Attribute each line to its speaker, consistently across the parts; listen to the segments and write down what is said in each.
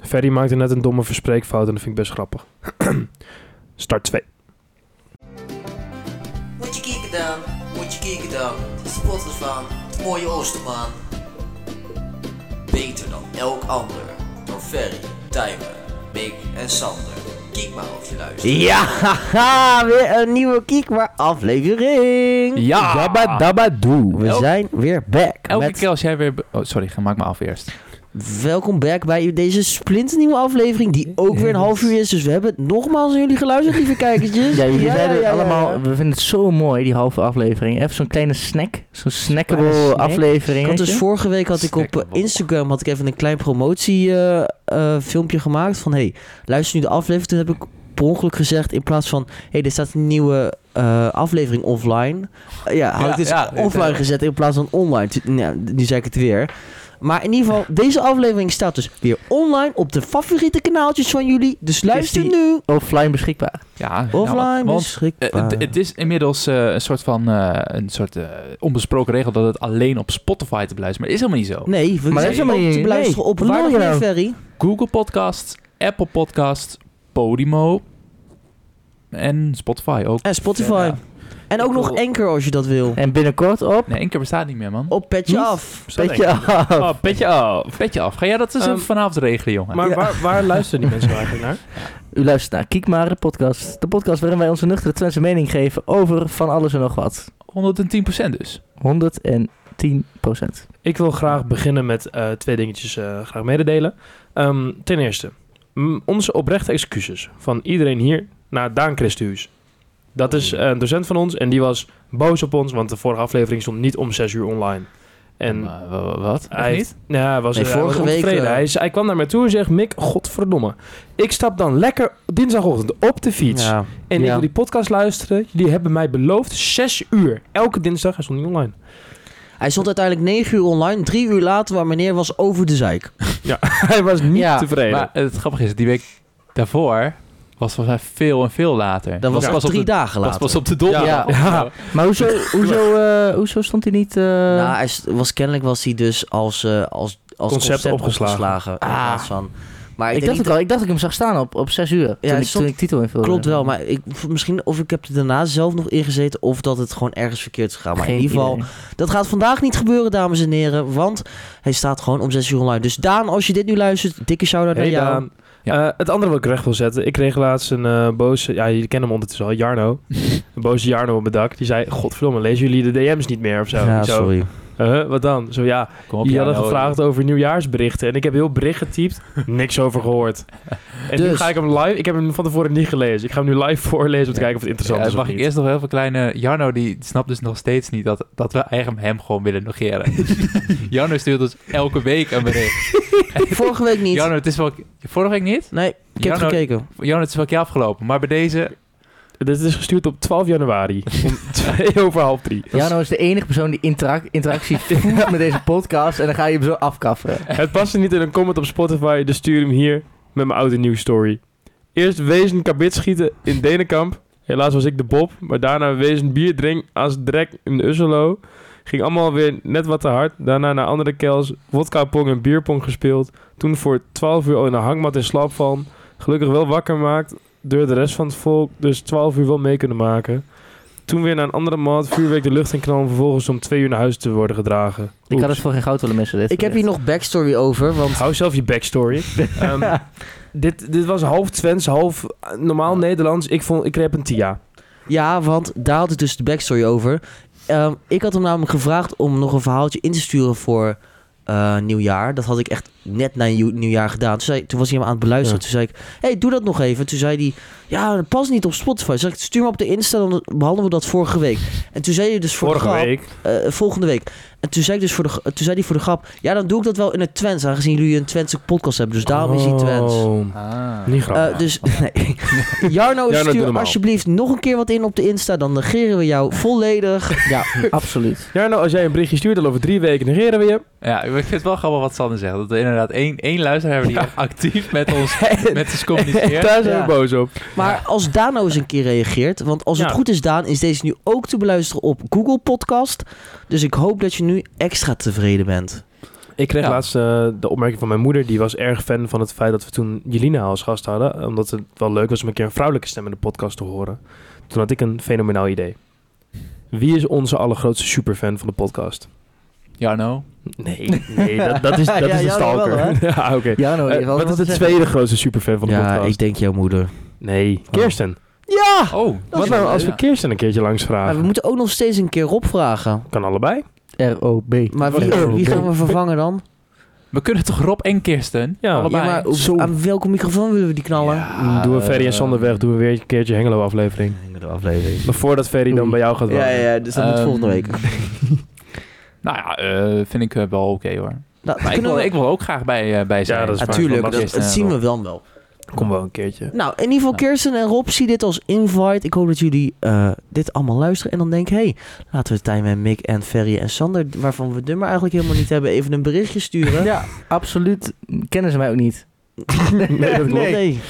Speaker 1: Ferry maakte net een domme verspreekfout en dat vind ik best grappig. Start 2.
Speaker 2: Moet je kijken dan, moet je kijken dan. De spotters van het mooie Oosterman. Beter dan elk ander. Door Ferry, Tijmen, Mick en Sander. Kijk maar of je luistert.
Speaker 3: Ja, haha, weer een nieuwe Kiekma aflevering.
Speaker 4: Ja!
Speaker 3: dabba dabba doe. We
Speaker 4: Elk-
Speaker 3: zijn weer back.
Speaker 4: Elke
Speaker 3: met-
Speaker 4: keer als jij weer... be- Oh, sorry, ga- maak me af eerst.
Speaker 3: Welkom back bij deze splinternieuwe aflevering die ook weer een half uur is. Dus we hebben nogmaals aan jullie geluisterd, lieve kijkertjes.
Speaker 5: Ja, jullie
Speaker 3: Ja,
Speaker 5: zeiden
Speaker 3: ja, ja,
Speaker 5: allemaal,
Speaker 3: ja.
Speaker 5: we vinden het zo mooi, die halve aflevering. Even zo'n kleine snack, zo'n snackable
Speaker 3: Kleine snack. Ik
Speaker 5: aflevering.
Speaker 3: had
Speaker 5: weet
Speaker 3: dus
Speaker 5: je?
Speaker 3: vorige week had ik op eh,
Speaker 4: Snackable.
Speaker 3: Instagram had ik even een klein promotiefilmpje filmpje gemaakt van hey, luister nu de aflevering. Toen heb ik per ongeluk gezegd in plaats van hey, er staat een nieuwe eh, aflevering offline. Eh, ja, had
Speaker 4: Ja,
Speaker 3: ik dus
Speaker 4: ja, dit,
Speaker 3: offline
Speaker 4: eh.
Speaker 3: gezet in plaats van online. Tu- Nou, nu zei ik het weer. Maar in ieder geval, deze aflevering staat dus weer online op de favoriete kanaaltjes van jullie. Dus luister
Speaker 5: die
Speaker 3: nu.
Speaker 5: Offline beschikbaar.
Speaker 4: Ja,
Speaker 3: Offline
Speaker 4: nou, want eh,
Speaker 3: beschikbaar.
Speaker 4: het- het is inmiddels eh, een soort van eh, een soort eh, onbesproken regel dat het alleen op Spotify te beluisteren. Maar is helemaal niet zo.
Speaker 3: Nee, we
Speaker 5: Maar dat is
Speaker 3: zijn
Speaker 5: helemaal
Speaker 3: ook
Speaker 5: niet-
Speaker 3: te beluisteren
Speaker 5: nee,
Speaker 3: op
Speaker 5: wat bedoel
Speaker 3: waar
Speaker 5: je nou?
Speaker 3: Ferry.
Speaker 4: Google Podcasts, Apple Podcasts, Podimo en Spotify ook.
Speaker 3: En Spotify.
Speaker 4: Ja.
Speaker 3: En ook
Speaker 4: Ik
Speaker 3: nog
Speaker 4: wil-
Speaker 3: Anchor als je dat wil.
Speaker 5: En binnenkort op...
Speaker 4: Nee, één keer bestaat niet meer, man.
Speaker 3: Op Petje
Speaker 5: Niet?
Speaker 3: Af.
Speaker 1: Zo
Speaker 5: Weet je,
Speaker 1: denk ik.
Speaker 5: af.
Speaker 1: Oh, petje af.
Speaker 4: Petje af. Ga jij dat eens
Speaker 1: Ehm,
Speaker 4: even vanavond regelen, jongen?
Speaker 1: Maar
Speaker 5: Ja.
Speaker 1: waar, waar luisteren die mensen eigenlijk naar?
Speaker 5: U luistert naar Kiek maar, de podcast. De podcast waarin wij onze nuchtere Twentse mening geven over van alles en nog wat.
Speaker 4: 110% dus.
Speaker 5: 110 procent.
Speaker 1: Ik wil graag beginnen met eh, twee dingetjes eh, graag mededelen. Ehm, ten eerste, m- onze oprechte excuses van iedereen hier naar Daan Christhuis. Dat
Speaker 3: Oh.
Speaker 1: is eh, een docent van ons en die was boos op ons, want de vorige aflevering stond niet om 6 uur online. En
Speaker 4: Maar, Eh, wa- wa- wat? Echt
Speaker 1: hij,
Speaker 4: niet?
Speaker 1: Ja, hij was,
Speaker 3: Nee,
Speaker 1: eh, hij
Speaker 3: vorige
Speaker 1: was
Speaker 3: week,
Speaker 1: ontevreden.
Speaker 3: eh,
Speaker 1: hij, zei- hij kwam naar mij toe en zegt, Mick, godverdomme. Ik stap dan lekker dinsdagochtend op de fiets
Speaker 3: Ja.
Speaker 1: en ik
Speaker 3: ja.
Speaker 1: wil die podcast luisteren. Jullie hebben mij beloofd 6 uur. Elke dinsdag, hij stond niet online.
Speaker 3: Hij stond uiteindelijk 9 uur online. Drie uur later, waar meneer was over de zeik.
Speaker 1: hij was niet
Speaker 5: Ja,
Speaker 1: tevreden.
Speaker 4: Maar het grappige is, die week daarvoor was volgens mij veel en veel later.
Speaker 3: Dat was
Speaker 4: het
Speaker 3: al
Speaker 4: op
Speaker 3: drie
Speaker 4: de,
Speaker 3: dagen
Speaker 4: was
Speaker 3: later.
Speaker 4: pas op de donderdag.
Speaker 5: Ja. Maar hoezo, hoezo, eh, hoezo stond hij niet... eh,
Speaker 3: nou, hij st- was, kennelijk was hij dus als, eh, als, als
Speaker 1: Concept opgeslagen.
Speaker 3: in plaats van. Maar Ah. ik,
Speaker 5: ik, dacht
Speaker 3: denk
Speaker 5: ook
Speaker 3: niet,
Speaker 5: al, ik dacht dat ik hem zag staan op, op 6 uur. toen, ik,
Speaker 3: stond-
Speaker 5: toen ik titel invulde.
Speaker 3: klopt wel, maar ik, v- misschien of ik heb er daarna zelf nog ingezeten of dat het gewoon ergens verkeerd is gegaan. Maar
Speaker 5: Geen
Speaker 3: in ieder geval,
Speaker 5: idee.
Speaker 3: dat gaat vandaag niet gebeuren, dames en heren, want hij staat gewoon om 6 uur online. Dus Daan, als je dit nu luistert, dikke shout-out
Speaker 1: Hey
Speaker 3: naar jou.
Speaker 1: Daan. Eh, het andere wat ik recht wil zetten. Ik kreeg laatst een eh, boze... Ja, jullie kennen hem ondertussen al. Jarno. een boze Jarno op mijn dak. Die zei... Godverdomme, lezen jullie de DM's niet meer of zo?
Speaker 3: ja,
Speaker 1: Ik zo, Eh,
Speaker 3: sorry.
Speaker 1: "Huh, wat dan? Zo ja,
Speaker 4: Kom op,
Speaker 1: jullie
Speaker 4: ja,
Speaker 1: hadden
Speaker 4: nou,
Speaker 1: gevraagd over nieuwjaarsberichten. En ik heb heel bericht getypt. niks over gehoord. En nu
Speaker 3: Dus.
Speaker 1: ga ik hem live... Ik heb hem van tevoren niet gelezen. Ik ga hem nu live voorlezen om te
Speaker 4: Ja.
Speaker 1: kijken of het interessant
Speaker 4: Ja,
Speaker 1: is
Speaker 4: Eh, mag
Speaker 1: of
Speaker 4: ik
Speaker 1: niet.
Speaker 4: eerst nog even kleine... Jarno die snapt dus nog steeds niet dat, dat we eigenlijk hem gewoon willen negeren. Jarno stuurt ons elke week een bericht.
Speaker 3: Vorige week niet.
Speaker 4: Jarno, het is wel... Vorige week niet?
Speaker 3: Nee, ik heb
Speaker 4: Jarno-
Speaker 3: gekeken.
Speaker 4: Jarno, het is wel een keer afgelopen. Maar bij deze...
Speaker 1: Dit is gestuurd op 12 januari. om 2 over half 3.
Speaker 5: Jano is de enige persoon die interac- interactie voelt met deze podcast. En dan ga je hem zo afkafferen.
Speaker 1: Het paste niet in een comment op Spotify, dus stuur hem hier met mijn oude nieuwsstory. Eerst wezen kabit schieten in Denenkamp. Helaas was ik de Bob, maar daarna wezen bier drink als drek in Usselo. Ging allemaal weer net wat te hard. Daarna naar andere kels, wodka pong en bierpong gespeeld. Toen voor 12 uur al in de hangmat in slaap van. Gelukkig wel wakker maakt door de rest van het volk, dus 12 uur wel mee kunnen maken. Toen weer naar een andere mat, vuurwerk de lucht in knallen, vervolgens om 2 uur naar huis te worden gedragen.
Speaker 5: Ik had
Speaker 1: Oeps.
Speaker 5: het voor geen goud willen missen. Dit
Speaker 3: Ik heb hier
Speaker 5: bericht.
Speaker 3: nog backstory over, want
Speaker 1: Hou zelf je backstory. Ehm, dit, dit was half Twents, half eh, normaal Nederlands. Ik, vond, ik kreeg een TIA.
Speaker 3: Ja, want daar had ik dus de backstory over. Ehm, ik had hem namelijk gevraagd om nog een verhaaltje in te sturen voor eh, nieuwjaar. Dat had ik echt net na nieuw- nieuwjaar gedaan. Toen, zei, toen was hij hem aan het beluisteren. Toen zei ik, hé, hey, doe dat nog even. Toen zei hij, ja, dat past niet op Spotify. Toen zei ik, stuur me op de Insta, dan behandelen we dat vorige week. En toen zei hij dus voor de
Speaker 1: Vorige
Speaker 3: grap,
Speaker 1: week.
Speaker 3: eh, volgende week. En toen zei, ik dus voor de, g- toen zei hij voor de grap, ja, dan doe ik dat wel in het Twents. Aangezien jullie een Twentse podcast hebben, dus daarom is hij Twents.
Speaker 1: Oh,
Speaker 4: Ah.
Speaker 1: Niet grappig.
Speaker 3: Eh, dus nee. Jarno,
Speaker 1: doe
Speaker 3: stuur
Speaker 1: normaal.
Speaker 3: alsjeblieft nog een keer wat in op de Insta. Dan negeren we jou volledig.
Speaker 5: Ja, absoluut.
Speaker 1: ja, nou, als jij een berichtje stuurt, dan over drie weken negeren we je.
Speaker 4: Ja, ik vind het wel grappig wat Sander zegt. Dat we inderdaad één, één luisteraar hebben die actief met ons, met ons communiceert.
Speaker 1: Daar zijn
Speaker 5: Ja.
Speaker 1: we boos op.
Speaker 3: Maar als Daan nou eens een keer reageert. Want als het
Speaker 1: Ja.
Speaker 3: goed is, Daan, is deze nu ook te beluisteren op Google Podcast. Dus ik hoop dat je nu extra tevreden bent.
Speaker 1: Ik Ik kreeg
Speaker 4: Ja.
Speaker 1: laatst eh, de opmerking van mijn moeder. Die was erg fan van het feit dat we toen Jelina als gast hadden. Omdat het wel leuk was om een keer een vrouwelijke stem in de podcast te horen. Toen had ik een fenomenaal idee. Wie is onze allergrootste superfan van de podcast?
Speaker 4: Jarno.
Speaker 1: Nee, nee dat, dat is, dat
Speaker 5: Ja,
Speaker 1: is de
Speaker 5: jou nog wel,
Speaker 1: stalker. ja, oké.
Speaker 3: Oh,
Speaker 5: Ja, nou,
Speaker 1: Eh,
Speaker 5: je hebt wel
Speaker 1: wat is de
Speaker 5: te zeggen.
Speaker 1: tweede grootste superfan van de
Speaker 3: ja,
Speaker 1: podcast?
Speaker 3: ik denk jouw moeder.
Speaker 1: Nee, Kirsten.
Speaker 3: Ja!
Speaker 4: Oh,
Speaker 1: Wat nou als we
Speaker 4: Ja.
Speaker 1: Kirsten een keertje langs
Speaker 3: Maar
Speaker 1: vragen?
Speaker 3: we moeten ook nog steeds een keer Rob vragen.
Speaker 1: Kan allebei.
Speaker 5: R.O.B.
Speaker 3: Maar wie,
Speaker 1: Wat-
Speaker 3: wie gaan we vervangen dan?
Speaker 4: We kunnen toch Rob en Kirsten?
Speaker 1: Ja.
Speaker 4: allebei.
Speaker 3: Ja, maar op-
Speaker 1: Zo.
Speaker 3: aan welke microfoon willen we die knallen? Nou,
Speaker 4: Ja,
Speaker 1: Mm,
Speaker 3: Ah.
Speaker 1: doen we Ferry en
Speaker 4: eh,
Speaker 1: Sander weg. Doen we weer een keertje Hengelo aflevering.
Speaker 3: De aflevering.
Speaker 1: Maar voordat Ferry dan
Speaker 5: Oei.
Speaker 1: bij jou gaat wonen.
Speaker 3: Ja, ja, dus dat moet
Speaker 4: Ehm,
Speaker 3: volgende week.
Speaker 4: Nou ja, eh, vind ik eh, wel oké hoor.
Speaker 3: Nou,
Speaker 4: Maar ik wil,
Speaker 3: we-
Speaker 4: ik wil ook graag bij, eh, bij zijn.
Speaker 1: Ja, dat is waar.
Speaker 3: Natuurlijk, dat,
Speaker 4: Kirsten
Speaker 3: dat
Speaker 4: en
Speaker 3: zien we
Speaker 4: Rob.
Speaker 3: dan wel.
Speaker 1: Kom wel een keertje.
Speaker 3: Nou, in ieder geval,
Speaker 4: Ja.
Speaker 3: Kirsten en Rob, zie dit als invite. Ik hoop dat jullie eh, dit allemaal luisteren. En dan denk, hé, hey, laten we Tijmen en Mick en Ferry en Sander, waarvan we het nummer eigenlijk helemaal niet hebben, even een berichtje sturen.
Speaker 5: Ja, absoluut. Kennen ze mij ook niet.
Speaker 1: Nee, dat klopt.
Speaker 3: Nee.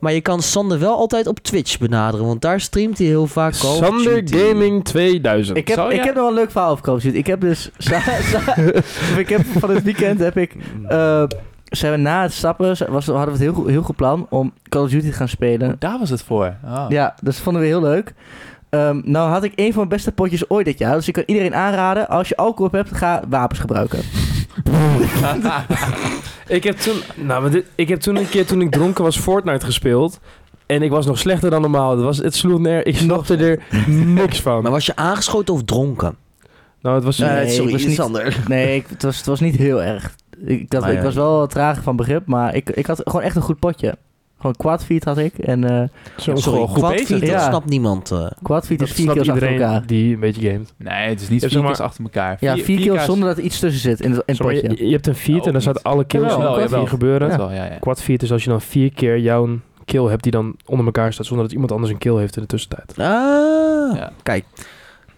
Speaker 3: Maar je kan Sander wel altijd op Twitch benaderen, want daar streamt hij heel vaak Call of
Speaker 1: Sander
Speaker 3: Duty.
Speaker 1: Gaming 2000.
Speaker 5: Ik heb,
Speaker 4: Zou
Speaker 5: ik
Speaker 4: jij-
Speaker 5: heb nog wel een leuk verhaal over Call of Duty. Ik heb dus... za- za- ik heb van het weekend heb ik... eh, zijn we na het stappen, was, hadden we het heel, goed- heel goed plan om Call of Duty te gaan spelen.
Speaker 4: Daar was het voor. Ah.
Speaker 5: Ja, dus dat vonden we heel leuk. Ehm, nou had ik een van mijn beste potjes ooit dit jaar. Dus ik kan iedereen aanraden, als je alcohol op hebt, ga wapens gebruiken.
Speaker 1: Ik heb toen, nou, maar dit- ik heb toen een keer toen ik dronken was Fortnite gespeeld. En ik was nog slechter dan normaal. Het, was, het sloeg neer. Ik snapte er niks van.
Speaker 3: Maar was je aangeschoten of dronken?
Speaker 1: Nou, het was
Speaker 5: Nee, het is
Speaker 3: sorry,
Speaker 5: ik was niet-
Speaker 3: Sander.
Speaker 5: Nee, ik, het, was, het was niet heel erg. Ik, dat,
Speaker 3: Maar
Speaker 5: ik
Speaker 3: ja.
Speaker 5: was wel traag van begrip, maar ik, ik had gewoon echt een goed potje. Gewoon quadfeet had ik. En eh
Speaker 1: zo
Speaker 3: Sorry,
Speaker 4: goed
Speaker 3: quad
Speaker 4: bezig.
Speaker 3: feet, dat
Speaker 5: Ja.
Speaker 3: snapt niemand. eh.
Speaker 5: quadfeet
Speaker 1: Dat
Speaker 5: is vier
Speaker 1: snapt
Speaker 5: kills achter elkaar.
Speaker 1: iedereen die een beetje gamet.
Speaker 4: Nee, het is niet
Speaker 1: Ja,
Speaker 4: vier
Speaker 1: zeg maar-
Speaker 4: keers achter elkaar.
Speaker 5: Ja, vier, kills zonder dat er iets tussen zit in het, in het
Speaker 1: Sorry,
Speaker 5: potje.
Speaker 1: je, je hebt een feat
Speaker 4: Nou,
Speaker 1: en dan
Speaker 4: ook
Speaker 1: staat
Speaker 4: niet.
Speaker 1: alle kills
Speaker 4: Jawel,
Speaker 1: van
Speaker 4: jawel.
Speaker 1: quad feet gebeuren.
Speaker 4: Dat wel, ja, ja.
Speaker 1: Quad feat is als je dan vier keer jouw kill hebt die dan onder elkaar staat. Zonder dat iemand anders een kill heeft in de tussentijd.
Speaker 3: Ah,
Speaker 4: Ja.
Speaker 3: kijk.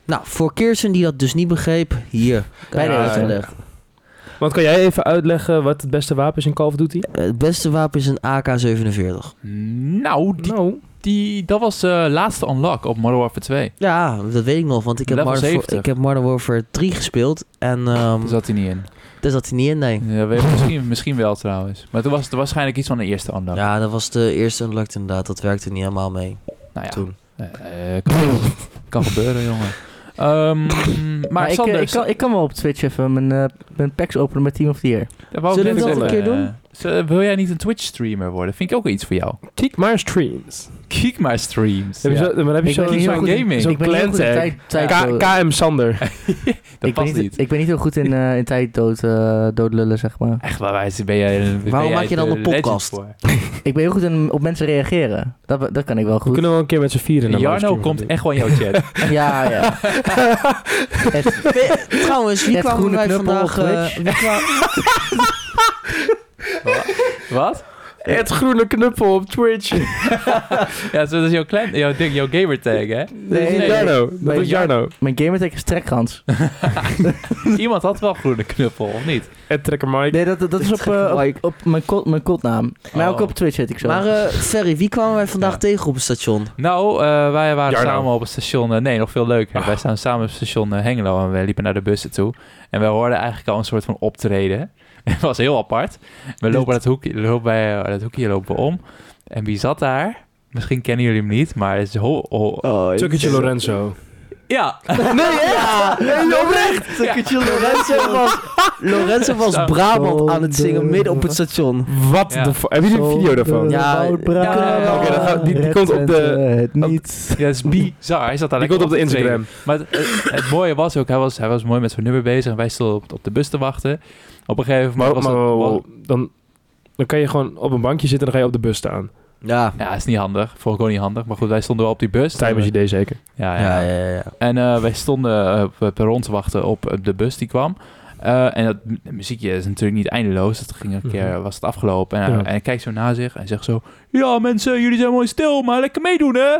Speaker 3: Nou, voor Kirsten die dat dus niet begreep, hier. Bij de
Speaker 1: Ja,
Speaker 3: uitgelegd.
Speaker 1: Want kan jij even uitleggen wat het beste wapen is in Call of Duty?
Speaker 3: Het beste wapen is een AK-47.
Speaker 4: Nou, die,
Speaker 1: Nou,
Speaker 4: die, dat was eh laatste unlock op Modern Warfare 2.
Speaker 3: Ja, dat weet ik nog, want ik heb,
Speaker 4: Level
Speaker 3: Modern,
Speaker 4: 70.
Speaker 3: ik heb Modern Warfare 3 gespeeld. En
Speaker 4: Daar
Speaker 3: ehm
Speaker 4: zat hij niet in.
Speaker 3: daar zat hij niet in, nee.
Speaker 4: Ja, weet- misschien, misschien wel trouwens. Maar toen was het waarschijnlijk iets van de eerste unlock.
Speaker 3: Ja, dat was de eerste unlocked inderdaad. Dat werkte niet helemaal mee
Speaker 4: nou ja,
Speaker 3: toen.
Speaker 4: eh, eh, kan, kan gebeuren, jongen. Ehm, maar
Speaker 5: Maar ik, eh,
Speaker 4: Sander,
Speaker 5: ik, kan, ik kan wel op Twitch even mijn, eh, mijn packs openen met Team of the Year.
Speaker 4: Ja, wou ik
Speaker 3: Zullen we
Speaker 4: net
Speaker 3: dat een
Speaker 4: zeggen,
Speaker 3: keer doen?
Speaker 4: eh, z- wil jij niet een Twitch-streamer worden? Vind ik ook wel iets voor jou.
Speaker 1: Kiek maar streams.
Speaker 4: Kijk maar streams.
Speaker 1: Heb je
Speaker 4: Ja.
Speaker 1: zo, maar heb je
Speaker 5: Ik ben
Speaker 1: zo-
Speaker 5: niet heel
Speaker 1: zo'n
Speaker 5: goed in-
Speaker 1: gaming?
Speaker 4: ik
Speaker 1: Zo'n
Speaker 5: ik ben niet heel
Speaker 1: clan
Speaker 5: goed in
Speaker 1: tag.
Speaker 5: tijd, tijd
Speaker 1: K-
Speaker 5: dood-
Speaker 1: KM Sander.
Speaker 4: Dat
Speaker 5: ik, ben
Speaker 4: past
Speaker 5: niet,
Speaker 4: niet.
Speaker 5: ik ben niet heel goed in, eh, in tijd dood, eh, doodlullen, zeg maar.
Speaker 4: Echt, waar wij ben jij, ben
Speaker 3: Waarom
Speaker 4: jij
Speaker 3: maak je dan
Speaker 4: de
Speaker 3: een podcast?
Speaker 4: legend
Speaker 5: Ik ben heel goed in op mensen reageren. Dat, be- dat kan ik wel
Speaker 1: We
Speaker 5: goed.
Speaker 1: kunnen wel een keer met z'n vieren
Speaker 4: voor?
Speaker 1: naar
Speaker 4: Jarno
Speaker 1: livestream gaan
Speaker 4: komt echt wel in jouw chat.
Speaker 5: Ja, ja. Het-
Speaker 3: Trouwens, wie
Speaker 5: Het
Speaker 3: kwamen
Speaker 5: groene
Speaker 3: wij
Speaker 5: knuppel
Speaker 3: vandaag...
Speaker 5: op
Speaker 3: eh,
Speaker 5: Twitch.
Speaker 3: wie kwa-
Speaker 4: Wat?
Speaker 1: doen. Het groene knuppel op Twitch.
Speaker 4: Ja, zo, dat is jouw, klein, jouw, ding, jouw gamer tag, hè?
Speaker 1: dat is
Speaker 5: nee,
Speaker 1: Jarno. Dat
Speaker 5: nee,
Speaker 1: is Jarno.
Speaker 5: mijn gamertag is trekkans.
Speaker 4: Iemand had wel groene knuppel, of niet?
Speaker 1: En Trekker Mike.
Speaker 5: Nee, dat, dat is op, eh, op-
Speaker 3: Mike.
Speaker 5: op, mijn, kot, mijn kotnaam. Maar
Speaker 4: Oh.
Speaker 5: ook op Twitch zit ik zo.
Speaker 3: maar eh, Ferry, wie kwamen wij vandaag
Speaker 4: Ja.
Speaker 3: tegen op het station?
Speaker 4: Nou, eh, wij waren
Speaker 1: Jarno. Ah.
Speaker 4: samen op het station. eh, nee, nog veel leuker. Wij staan samen op het station eh, Hengelo en we liepen naar de bussen toe. En we hoorden eigenlijk al een soort van optreden. Het was heel apart. We lopen dat hoekje, lopen wij, eh, dat hoekje lopen we om. En wie zat daar? Misschien kennen jullie hem niet, maar het is ho- ho-
Speaker 1: Tukketje Lorenzo.
Speaker 4: Ja,
Speaker 3: Nee, echt? Nee, oprecht!
Speaker 4: Tukketje
Speaker 3: Lorenzo was, Lorenzo was
Speaker 4: Zo.
Speaker 3: Brabant aan het zingen midden op het station.
Speaker 1: Wat
Speaker 4: Ja.
Speaker 1: de f- Heb je een video daarvan?
Speaker 5: eh,
Speaker 3: Ja.
Speaker 4: ja, oké, dan
Speaker 1: ga- die- die komt op de-
Speaker 5: Het
Speaker 1: op-
Speaker 5: niet.
Speaker 4: Ja, dat is bizar. Hij zat daar
Speaker 1: Die
Speaker 4: lekker
Speaker 1: komt op de
Speaker 4: te trainen.
Speaker 1: Instagram.
Speaker 4: Maar het, het- het mooie was ook, hij was, hij was mooi met zijn nummer bezig. En wij stonden op, op de bus te wachten. Op een gegeven
Speaker 1: Maar,
Speaker 4: moment was
Speaker 1: maar-
Speaker 4: het-
Speaker 1: maar- dan, dan kan je gewoon op een bankje zitten en dan ga je op de bus staan.
Speaker 3: Ja.
Speaker 4: Ja, is niet handig. Vond ik ook niet handig. Maar goed, wij stonden wel op die bus.
Speaker 1: Tijdens idee zeker.
Speaker 4: Ja, ja.
Speaker 3: Ja, ja, ja.
Speaker 4: En eh, wij stonden eh, op het perron te wachten op eh, de bus die kwam. Eh, en dat mu- muziekje is natuurlijk niet eindeloos. Dat ging een keer,
Speaker 1: Mhm.
Speaker 4: was het afgelopen. En, hij-
Speaker 1: Ja.
Speaker 4: en hij kijkt zo naar zich en zegt zo... Ja, mensen, jullie zijn mooi stil, maar lekker meedoen, hè?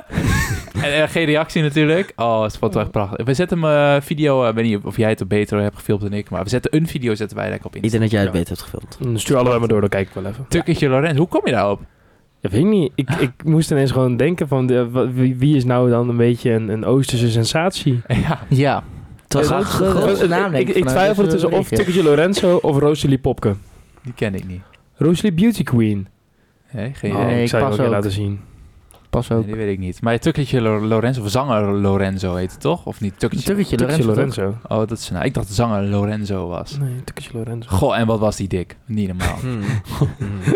Speaker 4: en eh, geen reactie natuurlijk. Oh, het vond echt prachtig. We zetten hem eh, video... eh, Ik weet niet of jij het op beter hebt gefilmd dan ik... maar we zetten een video zetten wij lekker op
Speaker 3: Ik
Speaker 4: Instagram.
Speaker 3: denk dat jij het
Speaker 1: Ja.
Speaker 3: beter hebt gefilmd.
Speaker 1: Dan stuur allebei maar door, dan kijk ik wel even.
Speaker 4: Tukketje Lorenz, hoe kom je daarop?
Speaker 1: Dat weet ik niet. Ik, ik moest ineens gewoon denken van de, wa- wie, wie is nou dan een beetje een, een Oosterse sensatie? Eh,
Speaker 4: ja,
Speaker 5: Ja,
Speaker 3: was
Speaker 5: Ja,
Speaker 3: een
Speaker 5: grote-
Speaker 3: grote-
Speaker 5: grote-
Speaker 1: Ik-
Speaker 5: naam, denk
Speaker 1: ik,
Speaker 5: ik,
Speaker 1: ik
Speaker 5: vanuit
Speaker 1: twijfel
Speaker 5: deze
Speaker 1: tussen of
Speaker 5: regio.
Speaker 1: Tikkertje Lorenzo of Rosalie Popke.
Speaker 4: Die ken ik niet.
Speaker 1: Rosalie Beauty Queen.
Speaker 4: Nee, geen
Speaker 5: Oh,
Speaker 4: idee.
Speaker 5: nee,
Speaker 1: ik zou je
Speaker 5: pas
Speaker 1: wel een keer
Speaker 5: ook.
Speaker 1: laten zien.
Speaker 5: Pas ook.
Speaker 4: Nee, die weet ik niet. Maar Tukkertje Lo- Lorenzo, of zanger Lorenzo heet het toch? Of niet? Tukkertje.
Speaker 5: Tukketje
Speaker 1: Tikkertje
Speaker 5: Lorenzo. toch?
Speaker 1: Lorenzo.
Speaker 4: Oh, dat is nou. Ik dacht dat zanger Lorenzo was.
Speaker 1: Nee, Tikkertje Lorenzo. Hmm.
Speaker 4: Goh, en wat was die dik? Niet normaal.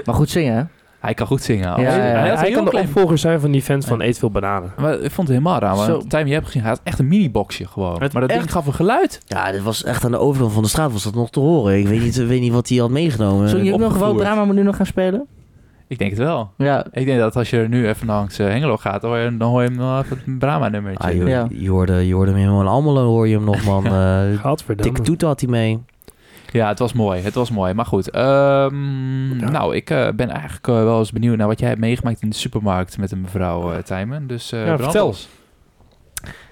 Speaker 5: Maar goed zingen, hè?
Speaker 4: hij kan goed zingen.
Speaker 5: Ja,
Speaker 4: Hij,
Speaker 5: ja,
Speaker 4: had
Speaker 5: ja.
Speaker 1: Hij,
Speaker 4: een
Speaker 1: hij
Speaker 4: heel
Speaker 1: kan de
Speaker 4: klein-
Speaker 1: opvolger zijn van die fans van Eet Veel Bananen.
Speaker 4: Maar ik vond het helemaal raar.
Speaker 5: Zo.
Speaker 4: Want Time, je hebt gezien, hij had echt een miniboxje gewoon.
Speaker 1: Het
Speaker 4: maar dat ding
Speaker 1: echt-
Speaker 4: gaf een geluid.
Speaker 3: Ja, dat was echt aan de overkant van de straat was dat nog te horen. Ik weet niet, weet niet wat hij had meegenomen.
Speaker 5: Zong je ook nog wel
Speaker 3: Opgevoerd.
Speaker 5: drama moet nu nog gaan spelen?
Speaker 4: Ik denk het wel.
Speaker 5: Ja.
Speaker 4: Ik denk dat als je er nu even langs eh, Hengelo gaat, hoor je, dan hoor je hem wel even het Brahma-nummertje.
Speaker 3: Ah, joh,
Speaker 5: Ja.
Speaker 3: je, hoorde, je hoorde hem helemaal in Almelo, hoor je hem nog, man. Eh Dikke
Speaker 1: Gadverdamme.
Speaker 3: toet had hij mee.
Speaker 4: ja, het was mooi. Het was mooi. Maar goed. ehm,
Speaker 1: Ja.
Speaker 4: Nou, ik eh, ben eigenlijk eh, wel eens benieuwd naar wat jij hebt meegemaakt in de supermarkt met een mevrouw eh Tijmen. Dus eh
Speaker 1: Ja,
Speaker 4: brand
Speaker 1: vertel.
Speaker 4: los.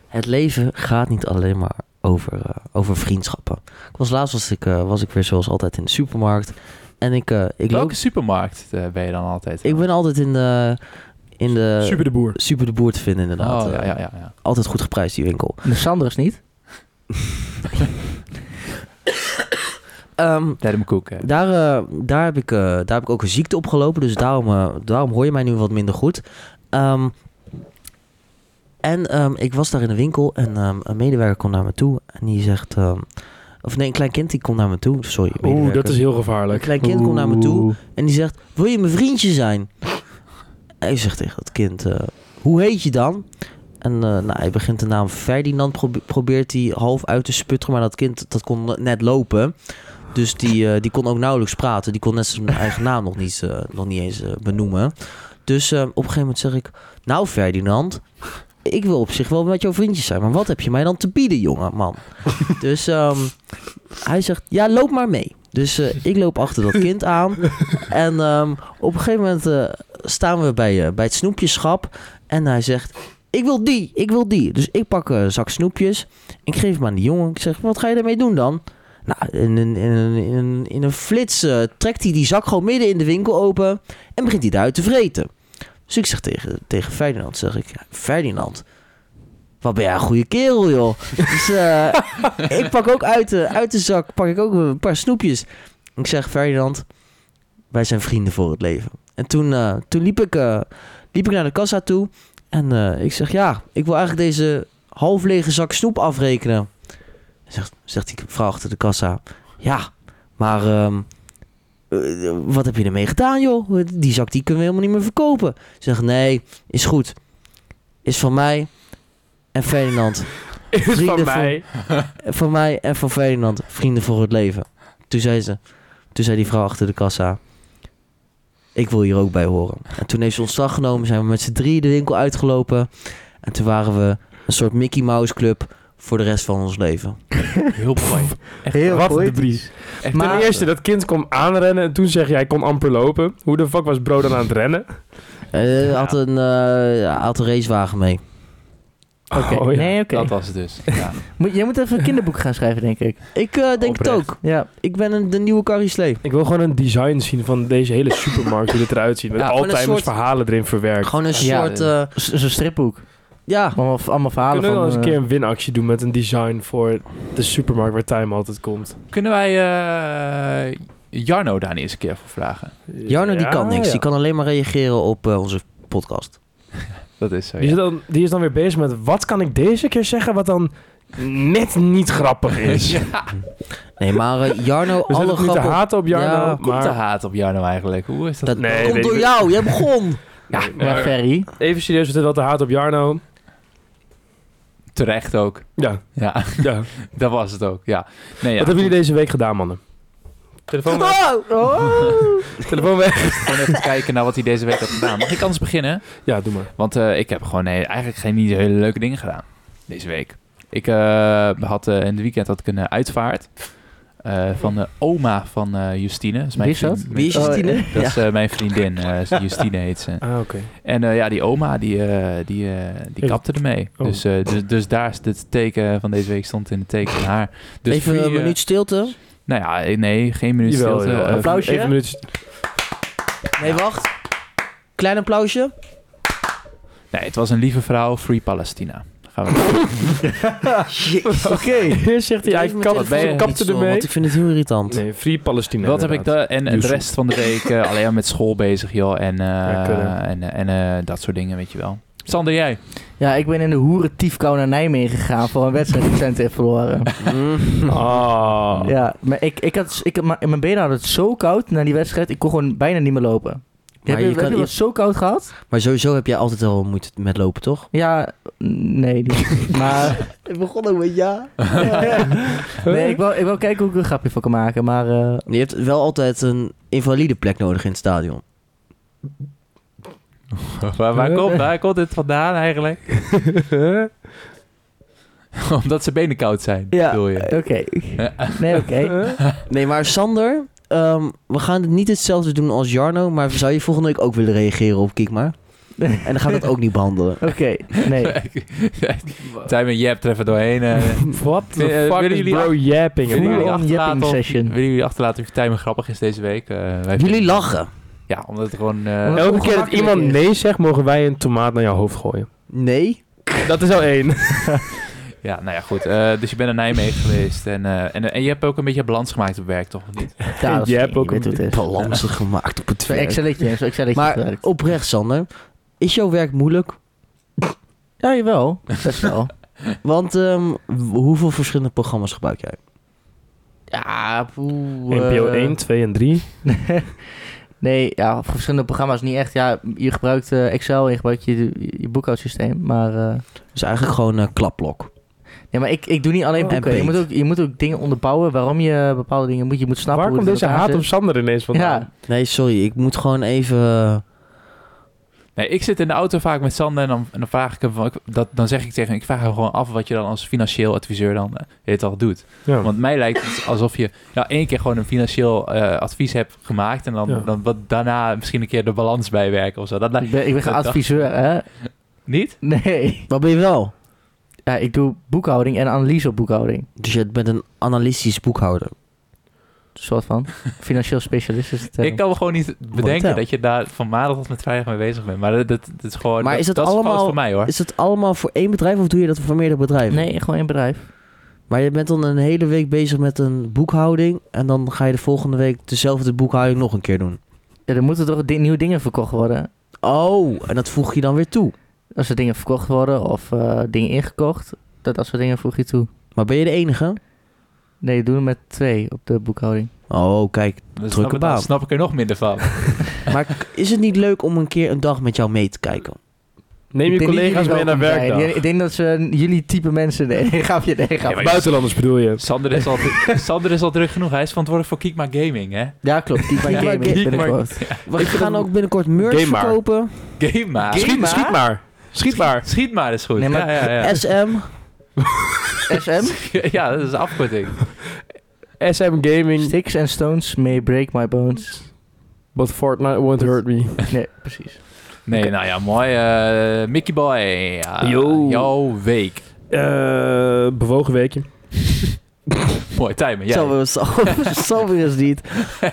Speaker 3: Het leven gaat niet alleen maar over, eh, over vriendschappen. Ik was laatst was ik, eh, was ik weer zoals altijd in de supermarkt. En ik, eh, ik loop...
Speaker 4: Welke supermarkt eh, ben je dan altijd?
Speaker 3: Ik ben altijd in de... In
Speaker 5: Eh,
Speaker 3: de
Speaker 1: Super de boer.
Speaker 3: Super de boer te vinden, inderdaad.
Speaker 4: Oh,
Speaker 3: Eh,
Speaker 4: ja, ja, ja, ja.
Speaker 3: Altijd goed geprijsd, die winkel.
Speaker 5: De Sanders niet.
Speaker 3: Ehm,
Speaker 4: Derde koek. eh.
Speaker 3: daar, eh, daar, heb ik, eh, daar heb ik ook een ziekte opgelopen, dus daarom, eh, daarom hoor je mij nu wat minder goed. Ehm, en ehm, ik was daar in de winkel en ehm, een medewerker komt naar me toe en die zegt... ehm, of nee, een klein kind die komt naar me toe, sorry.
Speaker 1: Oeh, dat
Speaker 3: medewerker.
Speaker 1: is heel
Speaker 3: Een
Speaker 1: gevaarlijk.
Speaker 3: klein kind komt naar me toe
Speaker 4: Oeh.
Speaker 3: en die zegt: Wil je mijn vriendje zijn? En ik zeg tegen dat kind: eh, Hoe heet je dan? En eh, nou, hij begint de naam Ferdinand, probe- probeert hij half uit te sputteren, maar dat kind dat kon net lopen. Dus die, eh, die kon ook nauwelijks praten. Die kon net zijn eigen naam nog niet, eh, nog niet eens eh, benoemen. Dus eh, op een gegeven moment zeg ik: Nou, Ferdinand, ik wil op zich wel met jouw vriendjes zijn, maar wat heb je mij dan te bieden, jongen, man? dus ehm, hij zegt: Ja, loop maar mee. Dus eh, ik loop achter dat kind aan. En ehm, op een gegeven moment eh, staan we bij, eh, bij het snoepjeschap. En hij zegt: Ik wil die, ik wil die. Dus ik pak eh, een zak snoepjes. Ik geef hem aan die jongen. Ik zeg: Wat ga je daarmee doen dan? Nou, in een, in een, in een, in een flits eh, trekt hij die zak gewoon midden in de winkel open. En begint hij daaruit te vreten. Dus ik zeg tegen, tegen Ferdinand: zeg ik, Ferdinand. Wat ben jij een goede kerel, joh. Dus eh, ik pak ook uit de, uit de zak pak ik ook een paar snoepjes. Ik zeg, Ferdinand, wij zijn vrienden voor het leven. En toen, eh, toen liep, ik, eh, liep ik naar de kassa toe. En eh, ik zeg, ja, ik wil eigenlijk deze half lege zak snoep afrekenen. Zegt, zegt die vrouw achter de kassa. Ja, maar ehm, eh, wat heb je ermee gedaan, joh? Die zak die kunnen we helemaal niet meer verkopen. Ik Zeg, nee, is goed. Is van mij en Ferdinand.
Speaker 1: Is van
Speaker 3: Vrienden
Speaker 1: mij.
Speaker 3: Van mij en van Ferdinand, vrienden voor het leven. Toen zei ze, toen zei die vrouw achter de kassa, ik wil hier ook bij horen. En toen heeft ze ontslag genomen, zijn we met z'n drieën de winkel uitgelopen. En toen waren we een soort Mickey Mouse club voor de rest van ons leven.
Speaker 4: Heel mooi.
Speaker 5: Heel
Speaker 1: Wat
Speaker 5: goed.
Speaker 1: een bries.
Speaker 4: Echt
Speaker 5: Maar-
Speaker 4: een-
Speaker 1: Ten eerste, dat kind kwam aanrennen en toen zeg je hij kon amper lopen. Hoe de fuck was Bro dan aan het rennen?
Speaker 3: Hij had, een, eh, ja, had een racewagen mee.
Speaker 5: Oké.
Speaker 1: Oh, ja.
Speaker 5: Nee, oké.
Speaker 4: Dat was het dus. Ja.
Speaker 5: Moet, jij moet even een kinderboek gaan schrijven, denk ik.
Speaker 3: Ik eh, denk het
Speaker 4: Oprecht.
Speaker 3: ook.
Speaker 5: Ja.
Speaker 3: Ik ben een, de nieuwe Carrie Slee.
Speaker 1: Ik wil gewoon een design zien van deze hele supermarkt, hoe dit eruit ziet. Met
Speaker 4: Ja,
Speaker 1: ja,
Speaker 4: gewoon
Speaker 3: een
Speaker 1: Alzheimer's
Speaker 3: soort-
Speaker 1: verhalen erin verwerkt.
Speaker 3: Gewoon een
Speaker 4: Ja,
Speaker 3: soort,
Speaker 4: eh,
Speaker 3: eh,
Speaker 5: Z- Zo'n stripboek.
Speaker 3: ja,
Speaker 5: Allemaal, allemaal verhalen
Speaker 1: Kunnen we wel
Speaker 5: van...
Speaker 1: eens een
Speaker 5: eh,
Speaker 1: keer een winactie doen met een design voor de supermarkt waar Time altijd komt?
Speaker 4: Kunnen wij eh, Jarno daar eens een keer voor vragen?
Speaker 3: Jarno die
Speaker 1: Ja,
Speaker 3: kan niks.
Speaker 1: ja.
Speaker 3: Die kan alleen maar reageren op eh, onze podcast.
Speaker 4: Dat is zo.
Speaker 1: Die
Speaker 4: ja.
Speaker 1: is, dan, die is dan weer bezig met wat kan ik deze keer zeggen wat dan net niet grappig is.
Speaker 4: Ja,
Speaker 3: Nee, maar eh, Jarno,
Speaker 1: We zitten
Speaker 3: alle
Speaker 1: niet te
Speaker 3: grappen...
Speaker 1: haten op Jarno,
Speaker 3: Ja,
Speaker 4: Komt de
Speaker 1: maar...
Speaker 4: haat op Jarno eigenlijk? Hoe is dat?
Speaker 3: Dat
Speaker 1: Nee,
Speaker 3: komt
Speaker 1: weet
Speaker 3: door
Speaker 1: ik-
Speaker 3: jou, jij begon.
Speaker 1: Ja,
Speaker 5: eh, Ja, Ferry.
Speaker 1: even serieus, we zitten wel te haten op Jarno.
Speaker 4: Terecht ook.
Speaker 1: Ja,
Speaker 4: Ja,
Speaker 1: ja.
Speaker 4: dat was het ook. Ja. Nee, ja.
Speaker 1: Wat hebben jullie deze week gedaan, mannen? Telefoon weg. Telefoon weg.
Speaker 4: Gewoon even kijken naar wat hij deze week had gedaan. Mag ik anders beginnen?
Speaker 1: Ja, doe maar.
Speaker 4: Want eh, ik heb gewoon nee, eigenlijk geen niet hele leuke dingen gedaan deze week. Ik eh, had eh, in het weekend had ik een eh, uitvaart eh, van de oma van eh, Justine. Dat is mijn
Speaker 5: Wie is dat?
Speaker 4: vriend-
Speaker 3: Wie is
Speaker 5: Oh,
Speaker 3: Justine?
Speaker 5: eh,
Speaker 4: Dat is eh, mijn vriendin. eh, Justine heet ze.
Speaker 1: Ah, oké.
Speaker 4: En eh, ja, die oma, die, eh, die, eh, die
Speaker 1: Even-
Speaker 4: kapte ermee.
Speaker 1: Oh.
Speaker 4: Dus, eh, dus, dus daar is het teken van deze week stond in het teken van haar. Dus
Speaker 3: Even
Speaker 4: vier-
Speaker 3: een minuut stilte.
Speaker 4: Nou ja, eh, nee, geen minuut
Speaker 1: Jawel,
Speaker 4: stilte.
Speaker 1: jawel.
Speaker 4: Eh,
Speaker 5: Applaus. Applausje?
Speaker 1: Even een minuutje.
Speaker 3: Nee, wacht. Klein applausje.
Speaker 4: nee, het was een lieve vrouw, Free Palestina. gaan we.
Speaker 5: Oké.
Speaker 1: Eerst zegt hij, hij
Speaker 3: Even
Speaker 1: kapt-
Speaker 3: mijn telefoon
Speaker 4: je-
Speaker 3: niet
Speaker 1: kapte
Speaker 3: stom,
Speaker 1: ermee.
Speaker 3: Want ik vind het heel irritant.
Speaker 1: Nee, Free Palestina.
Speaker 4: Wat heb ik
Speaker 1: inderdaad.
Speaker 4: daar? En de
Speaker 1: Yusuf.
Speaker 4: rest van de week eh, alleen maar met school bezig, joh. En, eh,
Speaker 1: Ja, kudde.
Speaker 4: en, eh, en eh, dat soort dingen, weet je wel. Sander, jij?
Speaker 5: Ja, ik ben in de hoerentiefkou naar Nijmegen gegaan voor een wedstrijd die Twente heeft verloren.
Speaker 3: Mm.
Speaker 1: Ah.
Speaker 5: Ja, maar ik, ik had, ik, had- maar mijn benen hadden het zo koud na die wedstrijd, ik kon gewoon bijna niet meer lopen.
Speaker 3: Maar
Speaker 5: heb
Speaker 3: je
Speaker 5: je, heb
Speaker 3: kan-
Speaker 5: je wat zo koud gehad?
Speaker 3: Maar sowieso heb jij altijd al moeite met lopen, toch?
Speaker 5: Ja, nee. niet. maar het begon ook met ja. nee, ik wil ik wou kijken hoe ik er een grapje van kan maken, maar... eh,
Speaker 3: Je hebt wel altijd een invalide plek nodig in het stadion.
Speaker 4: Waar, waar, komt, waar komt dit vandaan eigenlijk? Omdat zijn benen koud zijn,
Speaker 5: Ja.
Speaker 4: bedoel
Speaker 3: eh,
Speaker 4: je?
Speaker 5: Oké. Nee, oké.
Speaker 3: Nee, maar Sander, ehm, we gaan het niet hetzelfde doen als Jarno, maar zou je volgende week ook willen reageren op Kijk maar? En dan gaan we dat ook niet behandelen.
Speaker 5: Oké, nee.
Speaker 4: Tijmen, je hebt er even doorheen. eh.
Speaker 1: Wat
Speaker 4: Eh,
Speaker 1: de fuck
Speaker 4: willen
Speaker 1: is
Speaker 4: jullie-
Speaker 1: bro yapping?
Speaker 4: Willen
Speaker 1: about?
Speaker 4: jullie,
Speaker 5: on yapping
Speaker 4: achterlaten of,
Speaker 5: session.
Speaker 4: willen jullie achterlaten of Tijmen grappig is deze week? Eh, wij
Speaker 3: Jullie
Speaker 4: vinden-
Speaker 3: lachen.
Speaker 4: Ja, omdat het gewoon... eh,
Speaker 5: Omdat-
Speaker 1: Elke keer dat iemand
Speaker 5: ongemakkelijk
Speaker 1: nee zegt, mogen wij een tomaat naar jouw hoofd gooien.
Speaker 3: Nee?
Speaker 1: Dat is al één.
Speaker 4: ja, nou ja, goed. Eh, dus je bent naar Nijmegen geweest. En, eh, en, en je hebt ook een beetje balans gemaakt op werk, toch? Of niet?
Speaker 5: Ja, dat is-
Speaker 1: Jij hebt
Speaker 5: je
Speaker 1: ook
Speaker 5: weet
Speaker 1: een
Speaker 5: hoe het is.
Speaker 3: Balansen gemaakt op het
Speaker 5: Zo'n
Speaker 3: werk.
Speaker 5: Excelletje, zo'n Excelletje.
Speaker 3: Maar
Speaker 5: gebruikt.
Speaker 3: oprecht, Sander, is jouw werk moeilijk?
Speaker 5: Ja, jawel. Best wel.
Speaker 3: Want ehm, w- hoeveel verschillende programma's gebruik jij?
Speaker 5: ja, poeh. eh,
Speaker 1: NPO 1, 2 en 3.
Speaker 5: nee, ja, verschillende programma's niet echt. Ja, je gebruikt eh, Excel en je gebruikt je, je, boekhoudsysteem. Maar, eh,
Speaker 3: Dus eigenlijk gewoon een klapblok.
Speaker 5: nee, maar ik, ik doe niet alleen
Speaker 3: Oh.
Speaker 5: boeken.
Speaker 3: En
Speaker 5: Je moet,
Speaker 3: beet.
Speaker 5: ook, je moet ook dingen onderbouwen waarom je bepaalde dingen moet. Je moet snappen
Speaker 1: Waar
Speaker 5: hoe
Speaker 1: komt
Speaker 5: het
Speaker 1: deze
Speaker 5: in elkaar
Speaker 1: haat op
Speaker 5: zit.
Speaker 1: Sander ineens vandaan?
Speaker 5: Ja,
Speaker 3: Nee, sorry, ik moet gewoon even... eh,
Speaker 4: Nee, ik zit in de auto vaak met Sander en dan, en dan vraag ik hem... Van, ik- dat, dan zeg ik tegen hem, ik vraag hem gewoon af wat je dan als financieel adviseur dan eh, dit al doet.
Speaker 1: Ja.
Speaker 4: Want mij lijkt het alsof je nou, één keer gewoon een financieel eh, advies hebt gemaakt... en dan,
Speaker 1: Ja.
Speaker 4: dan wat, daarna misschien een keer de balans bijwerken of zo. Dat lijkt
Speaker 5: ik ben, ik ben geen
Speaker 4: Dat-
Speaker 5: adviseur, hè?
Speaker 4: niet.
Speaker 5: Nee.
Speaker 3: wat ben je wel?
Speaker 5: Ja, ik doe boekhouding en analyse op boekhouding.
Speaker 3: Dus je bent een analytisch boekhouder.
Speaker 5: Een soort van. Financieel specialist is het. eh.
Speaker 4: Ik kan me gewoon niet bedenken
Speaker 3: hell?
Speaker 4: dat je daar van maandag tot met vrijdag mee bezig bent. Maar dat, dat, dat is gewoon...
Speaker 3: Maar
Speaker 4: dat,
Speaker 3: is het
Speaker 4: dat fout
Speaker 3: allemaal-
Speaker 4: voor mij, hoor.
Speaker 3: Is dat allemaal voor één bedrijf of doe je dat voor meerdere bedrijven?
Speaker 5: Nee, gewoon in bedrijf.
Speaker 3: Maar je bent dan een hele week bezig met een boekhouding en dan ga je de volgende week dezelfde boekhouding nog een keer doen.
Speaker 5: Ja, er moeten toch di- nieuwe dingen verkocht worden.
Speaker 3: Oh, en dat voeg je dan weer toe.
Speaker 5: Als er dingen verkocht worden of eh, dingen ingekocht, dat, dat soort dingen voeg je toe.
Speaker 3: Maar ben je de enige?
Speaker 5: Nee, doen we met twee op de boekhouding.
Speaker 3: Oh, kijk.
Speaker 4: Dan
Speaker 3: drukke
Speaker 4: snap, ik- Dus dan
Speaker 3: baan.
Speaker 4: snap ik er nog minder van.
Speaker 3: Maar k- is het niet leuk om een keer een dag met jou mee te kijken?
Speaker 1: Neem je
Speaker 5: Ik denk dat
Speaker 1: collega's
Speaker 5: jullie
Speaker 1: mee naar
Speaker 5: welkom zijn.
Speaker 1: werkdag.
Speaker 5: Ik denk- Ik denk dat ze jullie type mensen... Nee, grapje, nee, grapje.
Speaker 4: maar-
Speaker 1: Buitenlanders bedoel je.
Speaker 4: Sander is, al, Sander is al druk genoeg. Hij is verantwoordelijk voor Kiekma Gaming, hè?
Speaker 5: Ja, klopt. Die
Speaker 3: Ja,
Speaker 5: gaming
Speaker 1: Geek
Speaker 5: binnenkort.
Speaker 3: We gaan ook binnenkort merch
Speaker 1: Game maar.
Speaker 3: verkopen.
Speaker 4: Gamema.
Speaker 5: Game-
Speaker 1: Schiet,
Speaker 5: maar.
Speaker 1: schiet maar. Schiet maar.
Speaker 4: Schiet maar is goed.
Speaker 5: Nee, maar-
Speaker 4: ja, ja, ja.
Speaker 3: SM.
Speaker 5: SM?
Speaker 4: ja, dat is een afkorting.
Speaker 1: SM Gaming,
Speaker 5: Sticks and stones may break my bones.
Speaker 1: but Fortnite won't hurt me.
Speaker 5: Nee, precies.
Speaker 4: Nee, nou ja, mooi. eh, Mickey Boy. ja,
Speaker 1: Yo.
Speaker 4: Jouw week.
Speaker 1: Eh, bewogen weekje.
Speaker 4: Mooi, timer. Jij.
Speaker 3: Zo weer- Zo zo weer is het niet.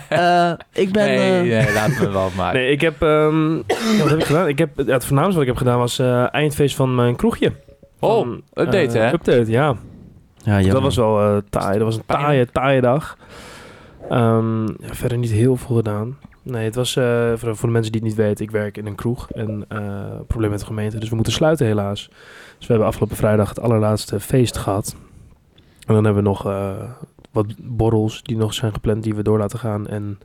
Speaker 3: Eh, ik ben...
Speaker 4: nee,
Speaker 3: eh,
Speaker 4: nee, laten we wel maken.
Speaker 1: Nee, ik heb... ehm, ja, wat heb ik gedaan? Ik heb, ja, het voornaamste wat ik heb gedaan was eh, eindfeest van mijn kroegje.
Speaker 4: Oh,
Speaker 1: Van,
Speaker 4: update,
Speaker 1: eh,
Speaker 4: hè?
Speaker 1: Update, ja.
Speaker 3: Ja, jammer.
Speaker 1: Dat was wel eh taai. Dat was een
Speaker 4: Pijn.
Speaker 1: taaie, taaie dag. Ehm, ja, verder niet heel veel gedaan. Nee, het was eh, voor, de- voor de mensen die het niet weten. Ik werk in een kroeg en eh probleem met de gemeente. Dus we moeten sluiten helaas. Dus we hebben afgelopen vrijdag het allerlaatste feest gehad. En dan hebben we nog eh, wat borrels die nog zijn gepland die we door laten gaan. En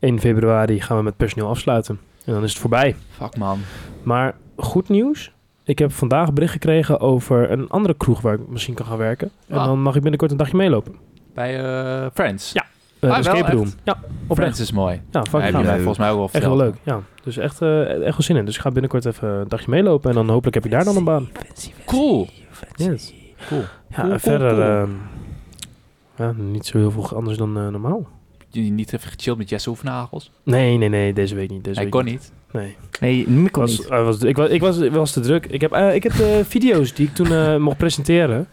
Speaker 1: 1 februari gaan we met personeel afsluiten. En dan is het voorbij.
Speaker 4: Fuck, man.
Speaker 1: Maar goed nieuws. Ik heb vandaag bericht gekregen over een andere kroeg waar ik misschien kan gaan werken. En
Speaker 4: Ah.
Speaker 1: dan mag ik binnenkort een dagje meelopen.
Speaker 4: Bij eh, Friends.
Speaker 1: Ja, Eh,
Speaker 4: Ah,
Speaker 1: de
Speaker 4: wel,
Speaker 1: escape room.
Speaker 4: echt?
Speaker 1: Ja,
Speaker 4: Friends
Speaker 1: oprecht.
Speaker 4: is mooi.
Speaker 1: Ja,
Speaker 4: Daar
Speaker 1: fucking
Speaker 4: heb je
Speaker 1: gaaf.
Speaker 4: mij volgens mij ook wel
Speaker 1: Echt
Speaker 4: verteld.
Speaker 1: wel leuk. Ja, dus echt, eh, echt wel zin in. Dus ik ga binnenkort even een dagje meelopen. En dan hopelijk heb ik daar dan een baan.
Speaker 4: Cool.
Speaker 1: Yes.
Speaker 4: Cool.
Speaker 1: Ja,
Speaker 4: Cool,
Speaker 1: en
Speaker 4: cool,
Speaker 1: verder...
Speaker 4: cool.
Speaker 1: ehm, ja, niet zo heel veel anders dan eh, normaal.
Speaker 4: Jullie niet even gechilled met Jesse Hoefnagels?
Speaker 1: Nee, nee, nee. Deze week niet. Deze
Speaker 4: Hij
Speaker 1: week
Speaker 4: kon niet.
Speaker 1: Dus niet. Nee.
Speaker 5: Nee, nu
Speaker 1: Ik
Speaker 5: kon
Speaker 1: was,
Speaker 5: niet.
Speaker 1: hij was, ik, was, ik, was, ik was te druk. Ik heb, eh, ik heb de video's die ik toen eh, mocht presenteren...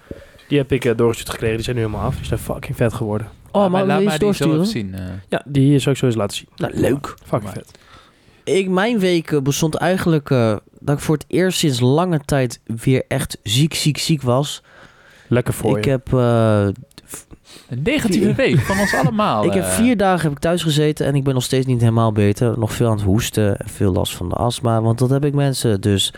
Speaker 1: Die heb ik eh, doorgestuurd gekregen. Die zijn nu helemaal af. Die zijn fucking vet geworden.
Speaker 3: Oh,
Speaker 4: Laat
Speaker 3: maar
Speaker 4: mij-
Speaker 3: wil je
Speaker 4: laat
Speaker 3: eens
Speaker 4: mij die zo even
Speaker 3: doorsturen?
Speaker 4: zien. eh.
Speaker 1: Ja, die zou ik zo eens laten zien.
Speaker 3: Nou, leuk.
Speaker 1: Fucking
Speaker 4: Maar-
Speaker 1: vet.
Speaker 3: ik, mijn week eh, bestond eigenlijk eh, dat ik voor het eerst sinds lange tijd weer echt ziek, ziek, ziek was.
Speaker 1: Lekker voor
Speaker 3: ik
Speaker 1: je.
Speaker 3: heb, eh,
Speaker 4: Een negatieve week van ons allemaal.
Speaker 3: ik heb
Speaker 4: eh.
Speaker 3: vier dagen heb ik thuis gezeten en ik ben nog steeds niet helemaal beter. Nog veel aan het hoesten en veel last van de astma, want dat heb ik mensen. Dus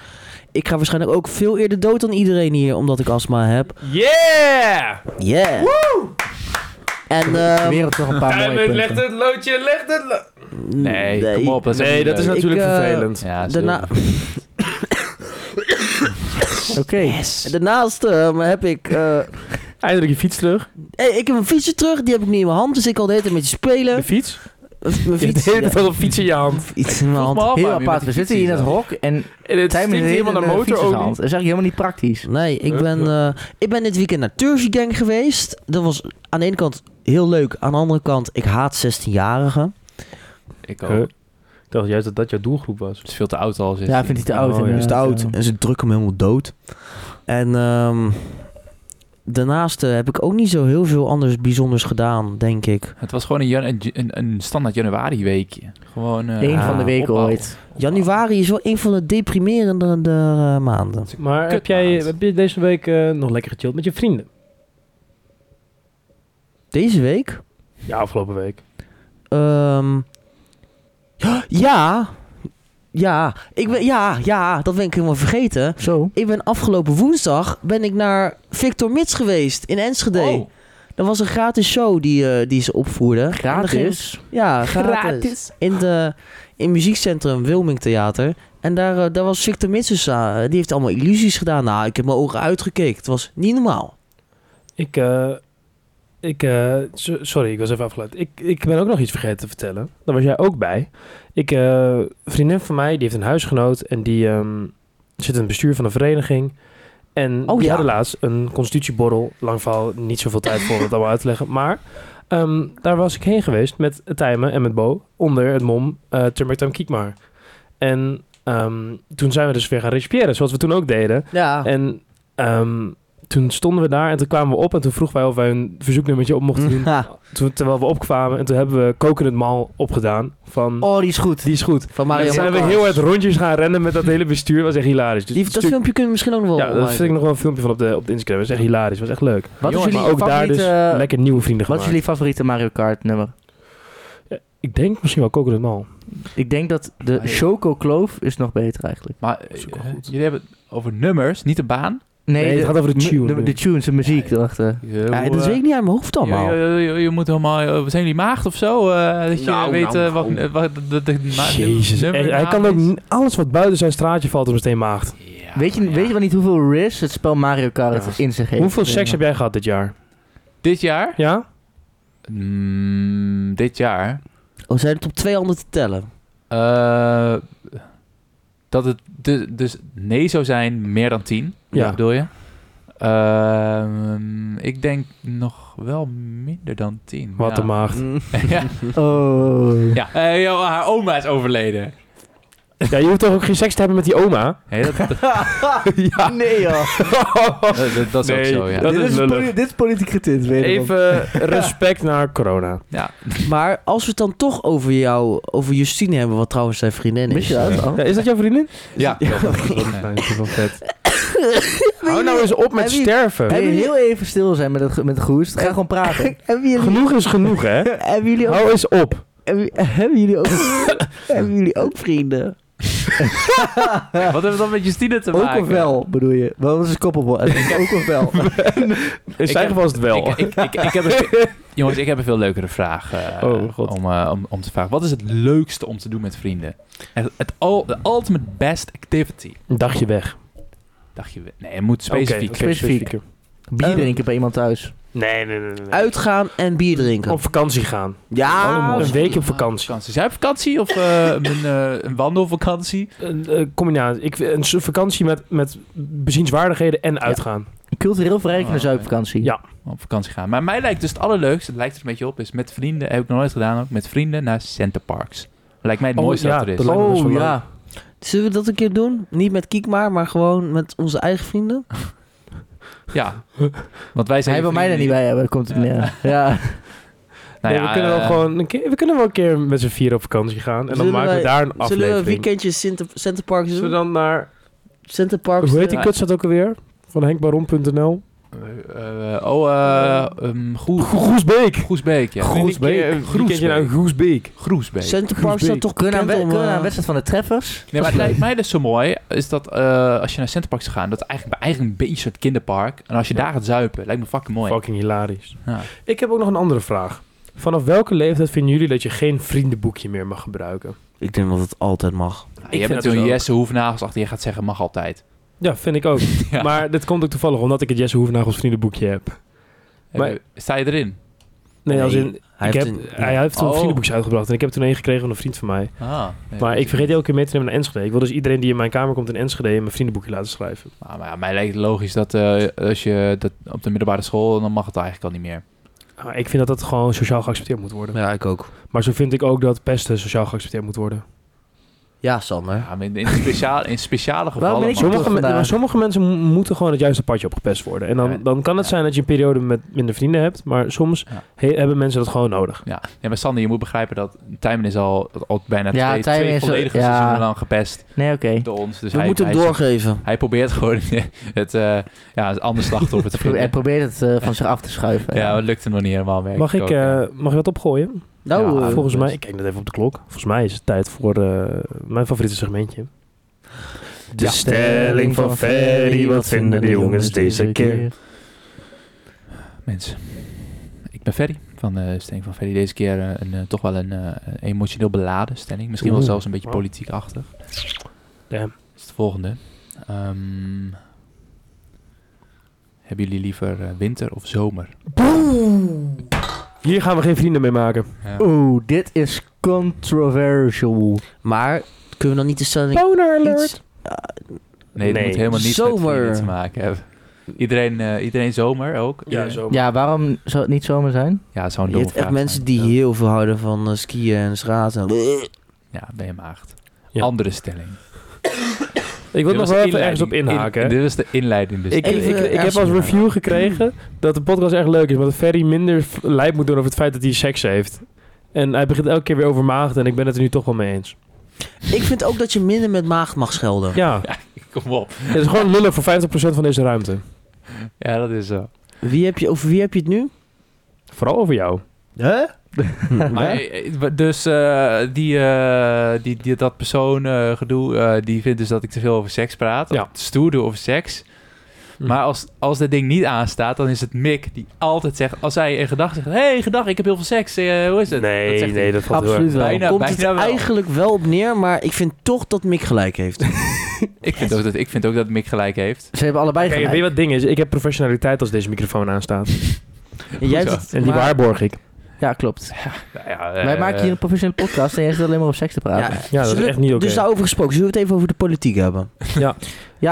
Speaker 3: ik ga waarschijnlijk ook veel eerder dood dan iedereen hier, omdat ik astma heb.
Speaker 1: eh, Yeah!
Speaker 3: Yeah! En,
Speaker 5: De
Speaker 3: ehm,
Speaker 5: wereld toch een paar mooie
Speaker 1: Diamond, legt
Speaker 5: punten.
Speaker 1: het loodje, legt het lo-
Speaker 4: Nee, kom op. Dat is
Speaker 1: Nee, dat is
Speaker 3: leuk.
Speaker 1: natuurlijk
Speaker 3: Ik, eh,
Speaker 1: vervelend.
Speaker 4: Ja, is
Speaker 3: Daarna,
Speaker 4: heel-
Speaker 5: Oké.
Speaker 3: daarnaast ehm, heb ik... eh,
Speaker 1: Eindelijk je fiets terug.
Speaker 3: hey, ik heb een fietsje terug, die heb ik nu in mijn hand, dus ik kan de hele tijd met je
Speaker 1: De
Speaker 3: spelen.
Speaker 1: fiets?
Speaker 3: Mijn
Speaker 1: Je
Speaker 3: fiets,
Speaker 1: deed het
Speaker 3: ja.
Speaker 1: al een fiets in je hand.
Speaker 3: Iets in mijn hand.
Speaker 4: Vroeg me af
Speaker 5: Heel
Speaker 4: waarom je
Speaker 5: apart.
Speaker 4: met
Speaker 5: We
Speaker 4: die
Speaker 5: zitten hier in het
Speaker 4: fiets
Speaker 5: hok en
Speaker 1: En het
Speaker 5: Tijmen
Speaker 1: stinkt
Speaker 5: heeft
Speaker 1: helemaal naar
Speaker 5: een, eh,
Speaker 1: motor
Speaker 5: fiets in zijn
Speaker 1: ook
Speaker 5: hand.
Speaker 1: niet.
Speaker 5: Dat is eigenlijk helemaal niet praktisch.
Speaker 3: Nee, ik ben, eh, ik ben dit weekend naar Turfy Gang geweest. Dat was aan de ene kant heel leuk. Aan de andere kant, ik haat 16-jarigen.
Speaker 4: Ik
Speaker 1: Huh?
Speaker 4: ook.
Speaker 1: Ik dacht juist dat dat jouw doelgroep was.
Speaker 4: Het is veel te oud al.
Speaker 5: Ja, vindt hij te oud. eh,
Speaker 1: Oh, ja.
Speaker 5: inderdaad.
Speaker 1: Is
Speaker 3: En ze drukken hem helemaal dood. En ehm, daarnaast eh, heb ik ook niet zo heel veel anders bijzonders gedaan, denk ik.
Speaker 4: Het was gewoon een, jan- een, een, een standaard januari weekje. Gewoon... eh,
Speaker 5: Eén van de weken
Speaker 4: opbouw.
Speaker 5: ooit.
Speaker 3: Januari is wel een van de deprimerende eh, maanden.
Speaker 1: Maar heb
Speaker 4: Kut,
Speaker 1: jij
Speaker 4: maat.
Speaker 1: heb je deze week eh, nog lekker gechilled met je vrienden?
Speaker 3: Deze week?
Speaker 1: Ja, afgelopen week.
Speaker 3: Ehm, ja. Ja, ik ben, ja, ja, dat ben ik helemaal vergeten.
Speaker 5: Zo.
Speaker 3: Ik ben afgelopen woensdag ben ik naar Victor Mits geweest in Enschede.
Speaker 4: Oh,
Speaker 3: Dat was een gratis show die, eh, die ze opvoerden. En dan ging-
Speaker 5: Gratis.
Speaker 3: Ja, gratis. In, de, in muziekcentrum Wilming Theater. En daar, eh, daar was Victor Mits dus, eh, die heeft allemaal illusies gedaan. Nou, ik heb mijn ogen uitgekeken. Het was niet normaal.
Speaker 1: Ik, eh, ik, eh, so- sorry, ik was even afgeleid. Ik, ik ben ook nog iets vergeten te vertellen. Daar was jij ook bij. Ik, eh, een vriendin van mij, die heeft een huisgenoot en die ehm, zit in het bestuur van een vereniging. En
Speaker 3: Oh,
Speaker 1: die
Speaker 3: ja.
Speaker 1: hadden laatst een constitutieborrel. Lang verhaal, niet zoveel tijd voor om het allemaal uit te leggen. Maar ehm, daar was ik heen geweest met Tijmen en met Bo. Onder het mom eh Timbertam Kiekmaar. En ehm, toen zijn we dus weer gaan respiëren, zoals we toen ook deden.
Speaker 3: Ja.
Speaker 5: Ah.
Speaker 1: En ehm, toen stonden we daar en toen kwamen we op en toen vroegen wij of wij een verzoeknummertje op mochten doen. Toen, terwijl we opkwamen en toen hebben we Kokend Mal opgedaan van
Speaker 3: Oh, die is goed.
Speaker 1: die is goed.
Speaker 3: Van
Speaker 1: En
Speaker 3: Mario
Speaker 1: toen
Speaker 5: oh
Speaker 1: zijn we
Speaker 3: Kart.
Speaker 1: heel hard rondjes gaan rennen met dat hele bestuur. was echt hilarisch. Dus
Speaker 3: Die-
Speaker 1: het
Speaker 3: dat
Speaker 1: stuk-
Speaker 3: filmpje kunnen we misschien ook nog wel
Speaker 1: ja,
Speaker 3: online
Speaker 1: dat vind ik
Speaker 3: doen.
Speaker 1: nog wel een filmpje van op de, op de Instagram. Dat is echt hilarisch. was echt leuk.
Speaker 5: oh Wat is
Speaker 4: Jongens,
Speaker 5: jullie
Speaker 1: maar ook daar dus
Speaker 5: favoriete...
Speaker 1: lekker nieuwe vrienden
Speaker 5: Wat
Speaker 1: gemaakt.
Speaker 5: is jullie favoriete Mario Kart nummer?
Speaker 1: Ik denk misschien wel Kokend Mal.
Speaker 5: Ik denk dat de
Speaker 4: Ah, ja.
Speaker 5: Choco Kloof is nog beter eigenlijk.
Speaker 4: maar eh,
Speaker 1: is ook wel goed.
Speaker 4: jullie hebben het over nummers, niet de baan.
Speaker 1: Nee, het
Speaker 5: de-
Speaker 1: gaat over de
Speaker 5: mu-
Speaker 1: tune.
Speaker 5: De, de tunes, de muziek erachter.
Speaker 4: eh,
Speaker 3: Ja,
Speaker 1: eh,
Speaker 3: dat weet ik niet uit mijn hoofd allemaal.
Speaker 4: Je, moet helemaal... eh, zijn jullie maagd of zo? eh, dat je
Speaker 2: Nou,
Speaker 4: weet
Speaker 2: nou,
Speaker 4: eh, wat,
Speaker 2: nou.
Speaker 4: eh, wat de, de, de- ma-
Speaker 1: Jezus,
Speaker 4: nummer
Speaker 1: echt, hij
Speaker 4: naam
Speaker 1: kan ook
Speaker 4: is.
Speaker 1: n- alles wat buiten zijn straatje valt om meteen maagd.
Speaker 4: Ja,
Speaker 5: Weet je,
Speaker 4: ja.
Speaker 5: weet je wel niet hoeveel RIS het spel Mario Kart
Speaker 1: Ja.
Speaker 5: in zich heeft?
Speaker 1: Hoeveel seks heb jij gehad dit jaar?
Speaker 4: Dit jaar?
Speaker 1: Ja?
Speaker 4: Mm, dit jaar?
Speaker 3: Oh, zijn het op twee handen te tellen?
Speaker 4: Eh, dat het du- dus nee zou zijn meer dan 10.
Speaker 1: Ja.
Speaker 4: Ja. Bedoel je? Ehm, ik denk nog wel minder dan 10.
Speaker 1: Wat
Speaker 4: ja.
Speaker 1: een maagd.
Speaker 4: ja,
Speaker 5: Oh.
Speaker 4: ja. Eh, joh, haar oma is overleden.
Speaker 1: Ja, je hoeft toch ook geen seks te hebben met die oma?
Speaker 4: Nee, dat, dat,
Speaker 5: Nee joh.
Speaker 4: dat, dat is
Speaker 1: Nee,
Speaker 4: ook zo, ja.
Speaker 1: dat- is lullig.
Speaker 5: poli- dit is politiek getint, weet ik wel.
Speaker 1: Even respect naar corona.
Speaker 4: ja.
Speaker 3: Maar als we het dan toch over jou, over Justine hebben, wat trouwens zijn vriendin
Speaker 5: Mis
Speaker 3: is.
Speaker 5: je dat al?
Speaker 1: Ja, is dat jouw vriendin?
Speaker 4: Ja, klopt.
Speaker 1: Nee,
Speaker 4: Nee.
Speaker 1: dat is wel vet. Hou nou eens op met
Speaker 3: Heb je-
Speaker 1: sterven.
Speaker 5: Wil je
Speaker 3: Hebben
Speaker 5: heel even stil zijn met het, ge- met het gehoest? Ga gewoon praten.
Speaker 3: Hebben jullie,
Speaker 1: Genoeg is genoeg, hè?
Speaker 3: hebben, jullie ook,
Speaker 1: Hou eens op.
Speaker 3: hebben, hebben jullie ook, hebben jullie ook vrienden?
Speaker 4: Wat heeft dat met Justine te
Speaker 5: Ook
Speaker 4: maken?
Speaker 5: of wel, bedoel je? Wel, dat is een koppelwoord. Ook of wel.
Speaker 1: In zijn
Speaker 4: heb-
Speaker 1: geval is het wel.
Speaker 4: Ik, ik, ik, ik heb een, jongens, ik heb een veel leukere vraag eh,
Speaker 1: Oh, God.
Speaker 4: om, eh, om, om te vragen. Wat is het leukste om te doen met vrienden? Het, het al, de ultimate best activity.
Speaker 1: Een dagje weg.
Speaker 4: Dacht je, nee, het moet specifiek.
Speaker 1: Oké,
Speaker 5: Specifiek.
Speaker 1: specifieker.
Speaker 5: Bier drinken bij iemand thuis.
Speaker 1: Nee, nee, nee. nee. nee.
Speaker 3: Uitgaan en bier drinken.
Speaker 1: Op vakantie gaan.
Speaker 3: ja,
Speaker 1: Een week op vakantie.
Speaker 4: vakantie. Zijn vakantie of eh, een, eh, een wandelvakantie?
Speaker 1: Een eh, combinatie. Ik, een soort vakantie met, met bezienswaardigheden en uitgaan.
Speaker 5: Cultureel verrijking naar
Speaker 4: Oh,
Speaker 5: zuipvakantie.
Speaker 1: Ja.
Speaker 4: Op vakantie gaan. Maar mij lijkt dus het allerleukste, het lijkt er een beetje op, is met vrienden, heb ik nog nooit gedaan ook, met vrienden naar Centerparks. Lijkt mij het
Speaker 1: Oh,
Speaker 4: mooiste
Speaker 1: ja,
Speaker 4: dat er is.
Speaker 1: dat lijkt me best wel
Speaker 5: Oh
Speaker 1: leuk.
Speaker 5: ja.
Speaker 3: Zullen we dat een keer doen? Niet met Kiekmaar, maar gewoon met onze eigen vrienden?
Speaker 4: Ja. Want wij zijn
Speaker 5: Hij wil mij er
Speaker 4: vrienden
Speaker 5: niet bij hebben, daar komt het neer. Ja.
Speaker 4: Nou
Speaker 1: nee,
Speaker 4: ja,
Speaker 1: we kunnen wel
Speaker 4: eh,
Speaker 1: gewoon een keer, we kunnen wel een keer met z'n vier op vakantie gaan. En dan
Speaker 3: Zullen
Speaker 1: maken we
Speaker 3: wij-
Speaker 1: daar een
Speaker 3: Zullen we een
Speaker 1: aflevering.
Speaker 3: weekendje Center, Center Park
Speaker 1: Zullen we
Speaker 3: doen?
Speaker 1: dan naar...
Speaker 3: Center Park.
Speaker 1: Hoe heet die
Speaker 4: Ja.
Speaker 1: kutstad ook alweer? Van henkbaron.nl.
Speaker 4: eh, eh, oh, eh ehm, Goe-
Speaker 1: Groesbeek!
Speaker 4: Groesbeek, ja.
Speaker 1: Groesbeek. Een weekendje naar nou Groesbeek.
Speaker 4: Groesbeek.
Speaker 3: Center Park
Speaker 1: Groesbeek.
Speaker 3: staat toch
Speaker 5: Kunnen we
Speaker 3: bekend
Speaker 5: aan we-
Speaker 3: om...
Speaker 5: kunnen we aan een
Speaker 3: eh,
Speaker 5: wedstrijd van de treffers?
Speaker 4: Nee, maar het lijkt mij dus zo mooi, is dat eh, als je naar Centerpark zou gaan, dat het eigenlijk, eigenlijk een beetje een soort kinderpark. En als je daar gaat zuipen, lijkt me fucking mooi.
Speaker 1: Fucking hilarisch.
Speaker 4: Ja.
Speaker 1: Ik heb ook nog een andere vraag. Vanaf welke leeftijd vinden jullie dat je geen vriendenboekje meer mag gebruiken?
Speaker 3: Ik denk dat het altijd mag.
Speaker 4: Ja,
Speaker 1: vind
Speaker 4: je hebt
Speaker 1: dat dus
Speaker 4: natuurlijk
Speaker 1: ook.
Speaker 4: Jesse Hoefnagels achter je gaat zeggen, mag altijd.
Speaker 1: Ja, vind ik ook.
Speaker 4: Ja.
Speaker 1: Maar dit komt ook toevallig omdat ik het Jesse Hoevenagels vriendenboekje heb. maar-
Speaker 4: Sta je erin?
Speaker 1: Nee, als
Speaker 3: Nee,
Speaker 1: in...
Speaker 3: hij
Speaker 1: ik
Speaker 3: heeft
Speaker 1: heb, ah,
Speaker 3: een-
Speaker 1: hij heeft een
Speaker 4: Oh.
Speaker 1: vriendenboekje uitgebracht en ik heb toen één gekregen van een vriend van mij.
Speaker 4: Ah, nee,
Speaker 1: Maar
Speaker 4: dat
Speaker 1: ik
Speaker 4: is
Speaker 1: vergeet
Speaker 4: niet.
Speaker 1: die elke keer mee te nemen naar Enschede. Ik wil dus iedereen die in mijn kamer komt in Enschede in mijn vriendenboekje laten schrijven.
Speaker 4: Maar, maar ja, mij lijkt het logisch dat eh, als je dat op de middelbare school, dan mag het eigenlijk al niet meer.
Speaker 1: Maar ik vind dat dat gewoon sociaal geaccepteerd moet worden.
Speaker 3: Ja, ik ook.
Speaker 1: Maar zo vind ik ook dat pesten sociaal geaccepteerd moet worden.
Speaker 3: Ja, Sander.
Speaker 4: Ja, maar in, in, speciaal, in speciale
Speaker 5: Waarom
Speaker 4: gevallen.
Speaker 5: ben
Speaker 4: mag-
Speaker 5: ik
Speaker 1: Sommige, men-
Speaker 5: toch vandaag.
Speaker 1: maar sommige mensen mo- moeten gewoon het juiste padje opgepest worden. En
Speaker 4: Ja.
Speaker 1: dan, dan kan het
Speaker 4: Ja.
Speaker 1: zijn dat je een periode met minder vrienden hebt. Maar soms
Speaker 4: Ja.
Speaker 1: he- hebben mensen dat gewoon nodig.
Speaker 4: Ja, nee, maar Sander, je moet begrijpen dat Tijmen is al, al bijna
Speaker 5: Ja,
Speaker 4: twee,
Speaker 5: Tijmen
Speaker 4: twee
Speaker 5: is al-
Speaker 4: volledige
Speaker 5: ja.
Speaker 4: seizoenen lang gepest
Speaker 5: Nee, oké.
Speaker 4: door ons. Dus
Speaker 3: we
Speaker 4: hij,
Speaker 3: moeten
Speaker 4: hij,
Speaker 3: hem doorgeven.
Speaker 4: hij probeert gewoon het, eh ja, het andere slachtoffer te
Speaker 5: Hij
Speaker 4: vinden.
Speaker 5: probeert het eh, van zich af te schuiven.
Speaker 4: Ja, het lukt hem nog niet helemaal. merk
Speaker 1: Mag ik,
Speaker 4: ook,
Speaker 1: eh,
Speaker 4: ja.
Speaker 1: mag je wat opgooien?
Speaker 3: Nou,
Speaker 4: Ja,
Speaker 3: eh,
Speaker 1: Volgens
Speaker 4: best.
Speaker 1: mij, ik kijk net even op de klok. Volgens mij is het tijd voor eh, mijn favoriete segmentje. De
Speaker 5: stelling van Ferry, wat vinden de jongens deze keer?
Speaker 4: Mensen, ik ben Ferry van de Stelling van Ferry. Deze keer eh, een, eh, toch wel een eh, een emotioneel beladen stelling. Misschien wel
Speaker 1: Oeh.
Speaker 4: zelfs een beetje politiekachtig.
Speaker 1: Damn.
Speaker 4: Dat is het volgende. Ehm, hebben jullie liever eh, winter of zomer?
Speaker 1: Hier gaan we geen vrienden mee maken.
Speaker 4: Ja.
Speaker 5: Oeh, dit is controversial.
Speaker 3: maar kunnen we dan niet de stelling...
Speaker 1: Boner
Speaker 3: Iets,
Speaker 1: alert!
Speaker 4: Nee, dat
Speaker 1: Nee.
Speaker 4: moet helemaal niet
Speaker 3: Zomer.
Speaker 4: met vrienden te maken hebben. Iedereen, eh, iedereen zomer ook.
Speaker 1: Ja,
Speaker 4: Iedereen-
Speaker 1: zo.
Speaker 5: Ja, waarom zou het niet zomaar zijn?
Speaker 4: Ja, zo'n
Speaker 3: je
Speaker 4: Oh, domme
Speaker 3: hebt echt
Speaker 4: vraag
Speaker 3: mensen
Speaker 4: zijn.
Speaker 3: die
Speaker 4: Ja.
Speaker 3: heel veel houden van eh, skiën en schaatsen.
Speaker 4: Ja, ben je maagd.
Speaker 1: Ja.
Speaker 4: Andere stelling.
Speaker 1: Ik wil nog wel even ergens op inhaken.
Speaker 4: dit was de inleiding. Dus
Speaker 1: ik, ik,
Speaker 3: Even
Speaker 1: ik, ik heb
Speaker 3: ergens
Speaker 1: als
Speaker 3: op
Speaker 1: review gekregen dat de podcast echt leuk is. Maar dat Ferry minder f- lijp moet doen over het feit dat hij seks heeft. En hij begint elke keer weer over maagden. En ik ben het er nu toch wel mee eens.
Speaker 3: Ik vind ook dat je minder met maagd mag schelden.
Speaker 1: Ja,
Speaker 4: Kom op.
Speaker 1: het is gewoon lullen voor 50% van deze ruimte.
Speaker 4: Ja, dat is zo.
Speaker 3: Wie heb je, over wie heb je het nu?
Speaker 1: Vooral over jou.
Speaker 5: Hè?
Speaker 4: Maar, eh, eh, dus eh, die, eh, die, die, dat persoon eh, gedoe, eh, die vindt dus dat ik te veel over seks praat.
Speaker 1: Ja.
Speaker 4: Of Stoer doe over seks.
Speaker 1: Hm.
Speaker 4: Maar als, als dat ding niet aanstaat, dan is het Mick die altijd zegt... Als hij in gedachten zegt, hey, gedag, ik heb heel veel seks. eh, hoe is het? dat zegt hij.
Speaker 1: dat
Speaker 5: Absoluut wel.
Speaker 4: Bijna. Ja,
Speaker 3: Komt het
Speaker 4: wel.
Speaker 3: eigenlijk wel op neer, maar ik vind toch dat Mick gelijk heeft.
Speaker 4: Ik vind, ook dat, ik vind ook dat Mick gelijk heeft.
Speaker 5: Ze hebben allebei
Speaker 1: Kijk, weet je
Speaker 5: gelijk.
Speaker 1: wat het ding is? Ik heb professionaliteit als deze microfoon aanstaat.
Speaker 3: En jij hebt het,
Speaker 1: En die
Speaker 3: maar-
Speaker 1: waarborg ik.
Speaker 5: Ja, klopt.
Speaker 4: Nou ja,
Speaker 5: Wij
Speaker 4: eh,
Speaker 5: maken hier een professionele podcast en jij zit alleen maar over seks te praten. Ja.
Speaker 1: Ja, dat is
Speaker 3: Ah. zullen we-
Speaker 1: echt niet oké.
Speaker 3: Dus daarover gesproken, zullen we het even over de politiek hebben?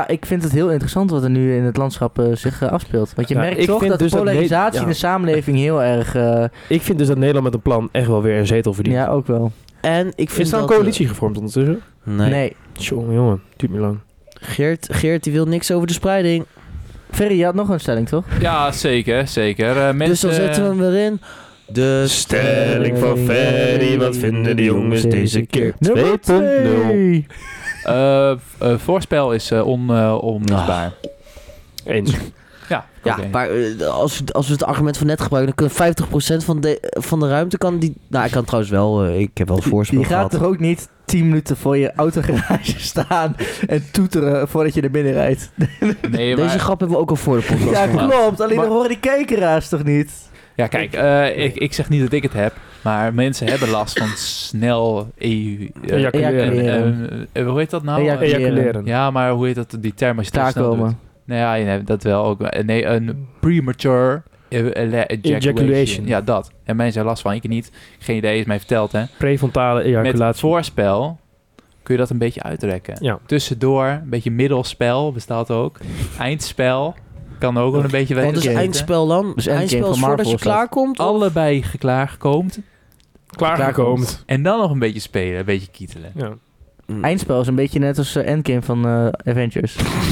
Speaker 5: ik vind het heel interessant wat er nu in het landschap eh, zich eh, afspeelt. Want je
Speaker 1: Ja,
Speaker 5: merkt
Speaker 1: ik
Speaker 5: toch
Speaker 1: vind
Speaker 5: dat
Speaker 1: dus dat
Speaker 5: polarisatie
Speaker 1: ne-
Speaker 5: in
Speaker 1: ja.
Speaker 5: de samenleving heel erg... eh,
Speaker 1: Ik vind dus dat Nederland met een plan echt wel weer een zetel verdient.
Speaker 5: ja, ook wel.
Speaker 3: En ik vind
Speaker 1: is daar een
Speaker 3: dat, eh,
Speaker 1: coalitie gevormd ondertussen?
Speaker 3: nee.
Speaker 5: nee.
Speaker 1: Tjonge, jongen. Duurt me lang.
Speaker 3: Geert, Geert die wil niks over de spreiding.
Speaker 5: Ferry, je had nog een stelling, toch?
Speaker 4: Ja, zeker, zeker. Eh, mensen,
Speaker 3: Dus dan zetten we hem weer in. Dus, De
Speaker 5: stelling van Ferry, wat vinden de jongens deze keer?
Speaker 1: 2.0.
Speaker 4: eh, v- eh, voorspel is eh, on, eh, onmisbaar.
Speaker 1: Eens.
Speaker 4: Ja,
Speaker 3: Ah. Ja,
Speaker 4: oké.
Speaker 3: maar eh, als, we- als we het argument van net gebruiken, dan kunnen 50% van de, van de ruimte kan die... Nou, ik kan trouwens wel, eh, ik heb wel een voorspel
Speaker 5: Je gaat
Speaker 3: gehad.
Speaker 5: toch ook niet 10 minuten voor je autogarage staan en toeteren voordat je naar binnen rijdt?
Speaker 4: nee, maar,
Speaker 3: Deze grap hebben we ook al voor de podcast
Speaker 5: Ja,
Speaker 3: gemaakt.
Speaker 5: klopt. Alleen
Speaker 4: Maar-
Speaker 5: dan horen die kijkeraars toch niet?
Speaker 4: ja kijk, eh, ik, ik zeg niet dat ik het heb, maar mensen hebben last van snel EU... eh,
Speaker 1: Ja,
Speaker 5: Ja,
Speaker 4: en,
Speaker 1: ja,
Speaker 5: ejaculeren.
Speaker 4: eh, eh, hoe heet dat nou?
Speaker 5: Ejaculeren.
Speaker 4: Eh,
Speaker 1: Ejaculeren.
Speaker 4: ja, maar hoe heet dat, die term als je het
Speaker 5: Daar
Speaker 4: te snel doet?
Speaker 5: komen.
Speaker 4: Nee, Nou ja, nee, dat wel ook. Eh, Nee, een premature eh, ele- ejaculation.
Speaker 1: Ejaculation.
Speaker 4: Ja, dat. En mensen hebben last van, ik niet. Geen idee, is mij verteld, hè.
Speaker 1: Prefrontale
Speaker 4: Met het
Speaker 1: ejaculatie.
Speaker 4: voorspel kun je dat een beetje uitrekken.
Speaker 1: Ja.
Speaker 4: Tussendoor, een beetje middelspel bestaat ook. Eindspel kan ook wel een beetje...
Speaker 3: Want
Speaker 4: weten.
Speaker 3: is eindspel dan?
Speaker 5: Dus Endgame
Speaker 3: eindspel is
Speaker 5: van
Speaker 3: voordat je
Speaker 5: Marvel is dat.
Speaker 3: klaarkomt? of-
Speaker 4: Allebei geklaargekoomd.
Speaker 1: Klaargekomen.
Speaker 4: En dan nog een beetje spelen, een beetje kietelen.
Speaker 1: Ja.
Speaker 5: eindspel is een beetje net als eh, Endgame van eh, Avengers.
Speaker 4: Oh,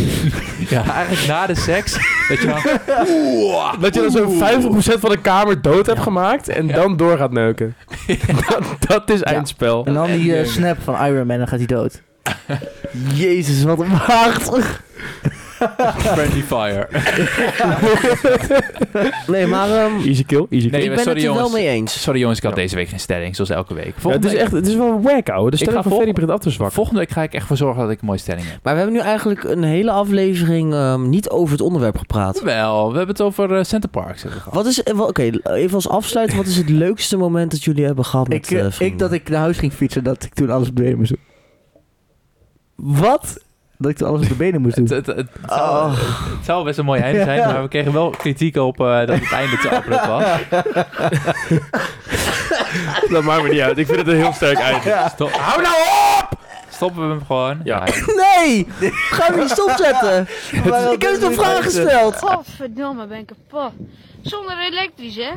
Speaker 4: Ja, eigenlijk na de seks. Dat je dan,
Speaker 5: Ah,
Speaker 1: Dat je dan zo'n 50% van de kamer dood hebt gemaakt en
Speaker 4: Ja.
Speaker 1: dan door gaat neuken. Dat, dat is eindspel.
Speaker 5: En dan die eh,
Speaker 4: Endgame.
Speaker 5: snap van Iron Man, dan gaat hij dood. Jezus, wat een maagd.
Speaker 4: friendly fire.
Speaker 3: Nee, maar ehm,
Speaker 1: Easy kill, easy kill.
Speaker 4: Nee,
Speaker 3: ik ben
Speaker 4: sorry,
Speaker 3: het er wel
Speaker 4: jongens.
Speaker 3: mee eens.
Speaker 4: Sorry jongens, ik had deze week geen stelling, zoals elke week.
Speaker 1: Ja, het,
Speaker 4: Volgende,
Speaker 1: is echt, het is wel wack, ouwe. De
Speaker 4: ga
Speaker 1: stelling van
Speaker 4: vol-
Speaker 1: Ferry begint af te
Speaker 4: week,
Speaker 1: zwakken.
Speaker 4: volgende week ga ik echt voor zorgen dat ik een mooie stelling heb.
Speaker 3: Maar we hebben nu eigenlijk een hele aflevering ehm, niet over het onderwerp gepraat.
Speaker 4: Wel, we hebben het over eh, Center Parks hebben we gehad.
Speaker 3: Wat is, eh, wel- oké, even als afsluiting, wat is het leukste moment dat jullie hebben gehad met
Speaker 5: Ik, eh,
Speaker 3: eh,
Speaker 5: ik
Speaker 3: vrienden?
Speaker 5: dat ik naar huis ging fietsen, dat ik toen alles op de benen moest doen. Wat? Dat ik toen alles op de benen moest doen.
Speaker 4: Het, het, het, het zou,
Speaker 3: Oh.
Speaker 4: het zou best een mooi einde zijn, maar we kregen wel kritiek op eh, dat het einde te abrupt was.
Speaker 1: Dat maakt me niet uit. Ik vind het een heel sterk einde.
Speaker 4: Stop,
Speaker 1: Hou nou op!
Speaker 4: stoppen we hem gewoon?
Speaker 1: Ja.
Speaker 3: Nee! Ga hem niet stopzetten! ik heb het een vraag gesteld!
Speaker 6: Godverdomme, ben ik kapot. Zonder elektrisch, hè?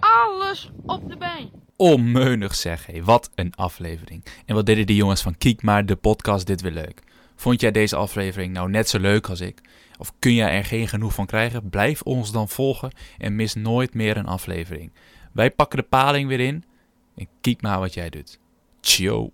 Speaker 6: Alles op de been.
Speaker 4: Onmeunig zeg, hé. Wat een aflevering. En wat deden die jongens van Kiek maar de podcast dit weer leuk. Vond jij deze aflevering nou net zo leuk als ik? Of kun jij er geen genoeg van krijgen? Blijf ons dan volgen en mis nooit meer een aflevering. Wij pakken de paling weer in en kiek maar wat jij doet. Ciao.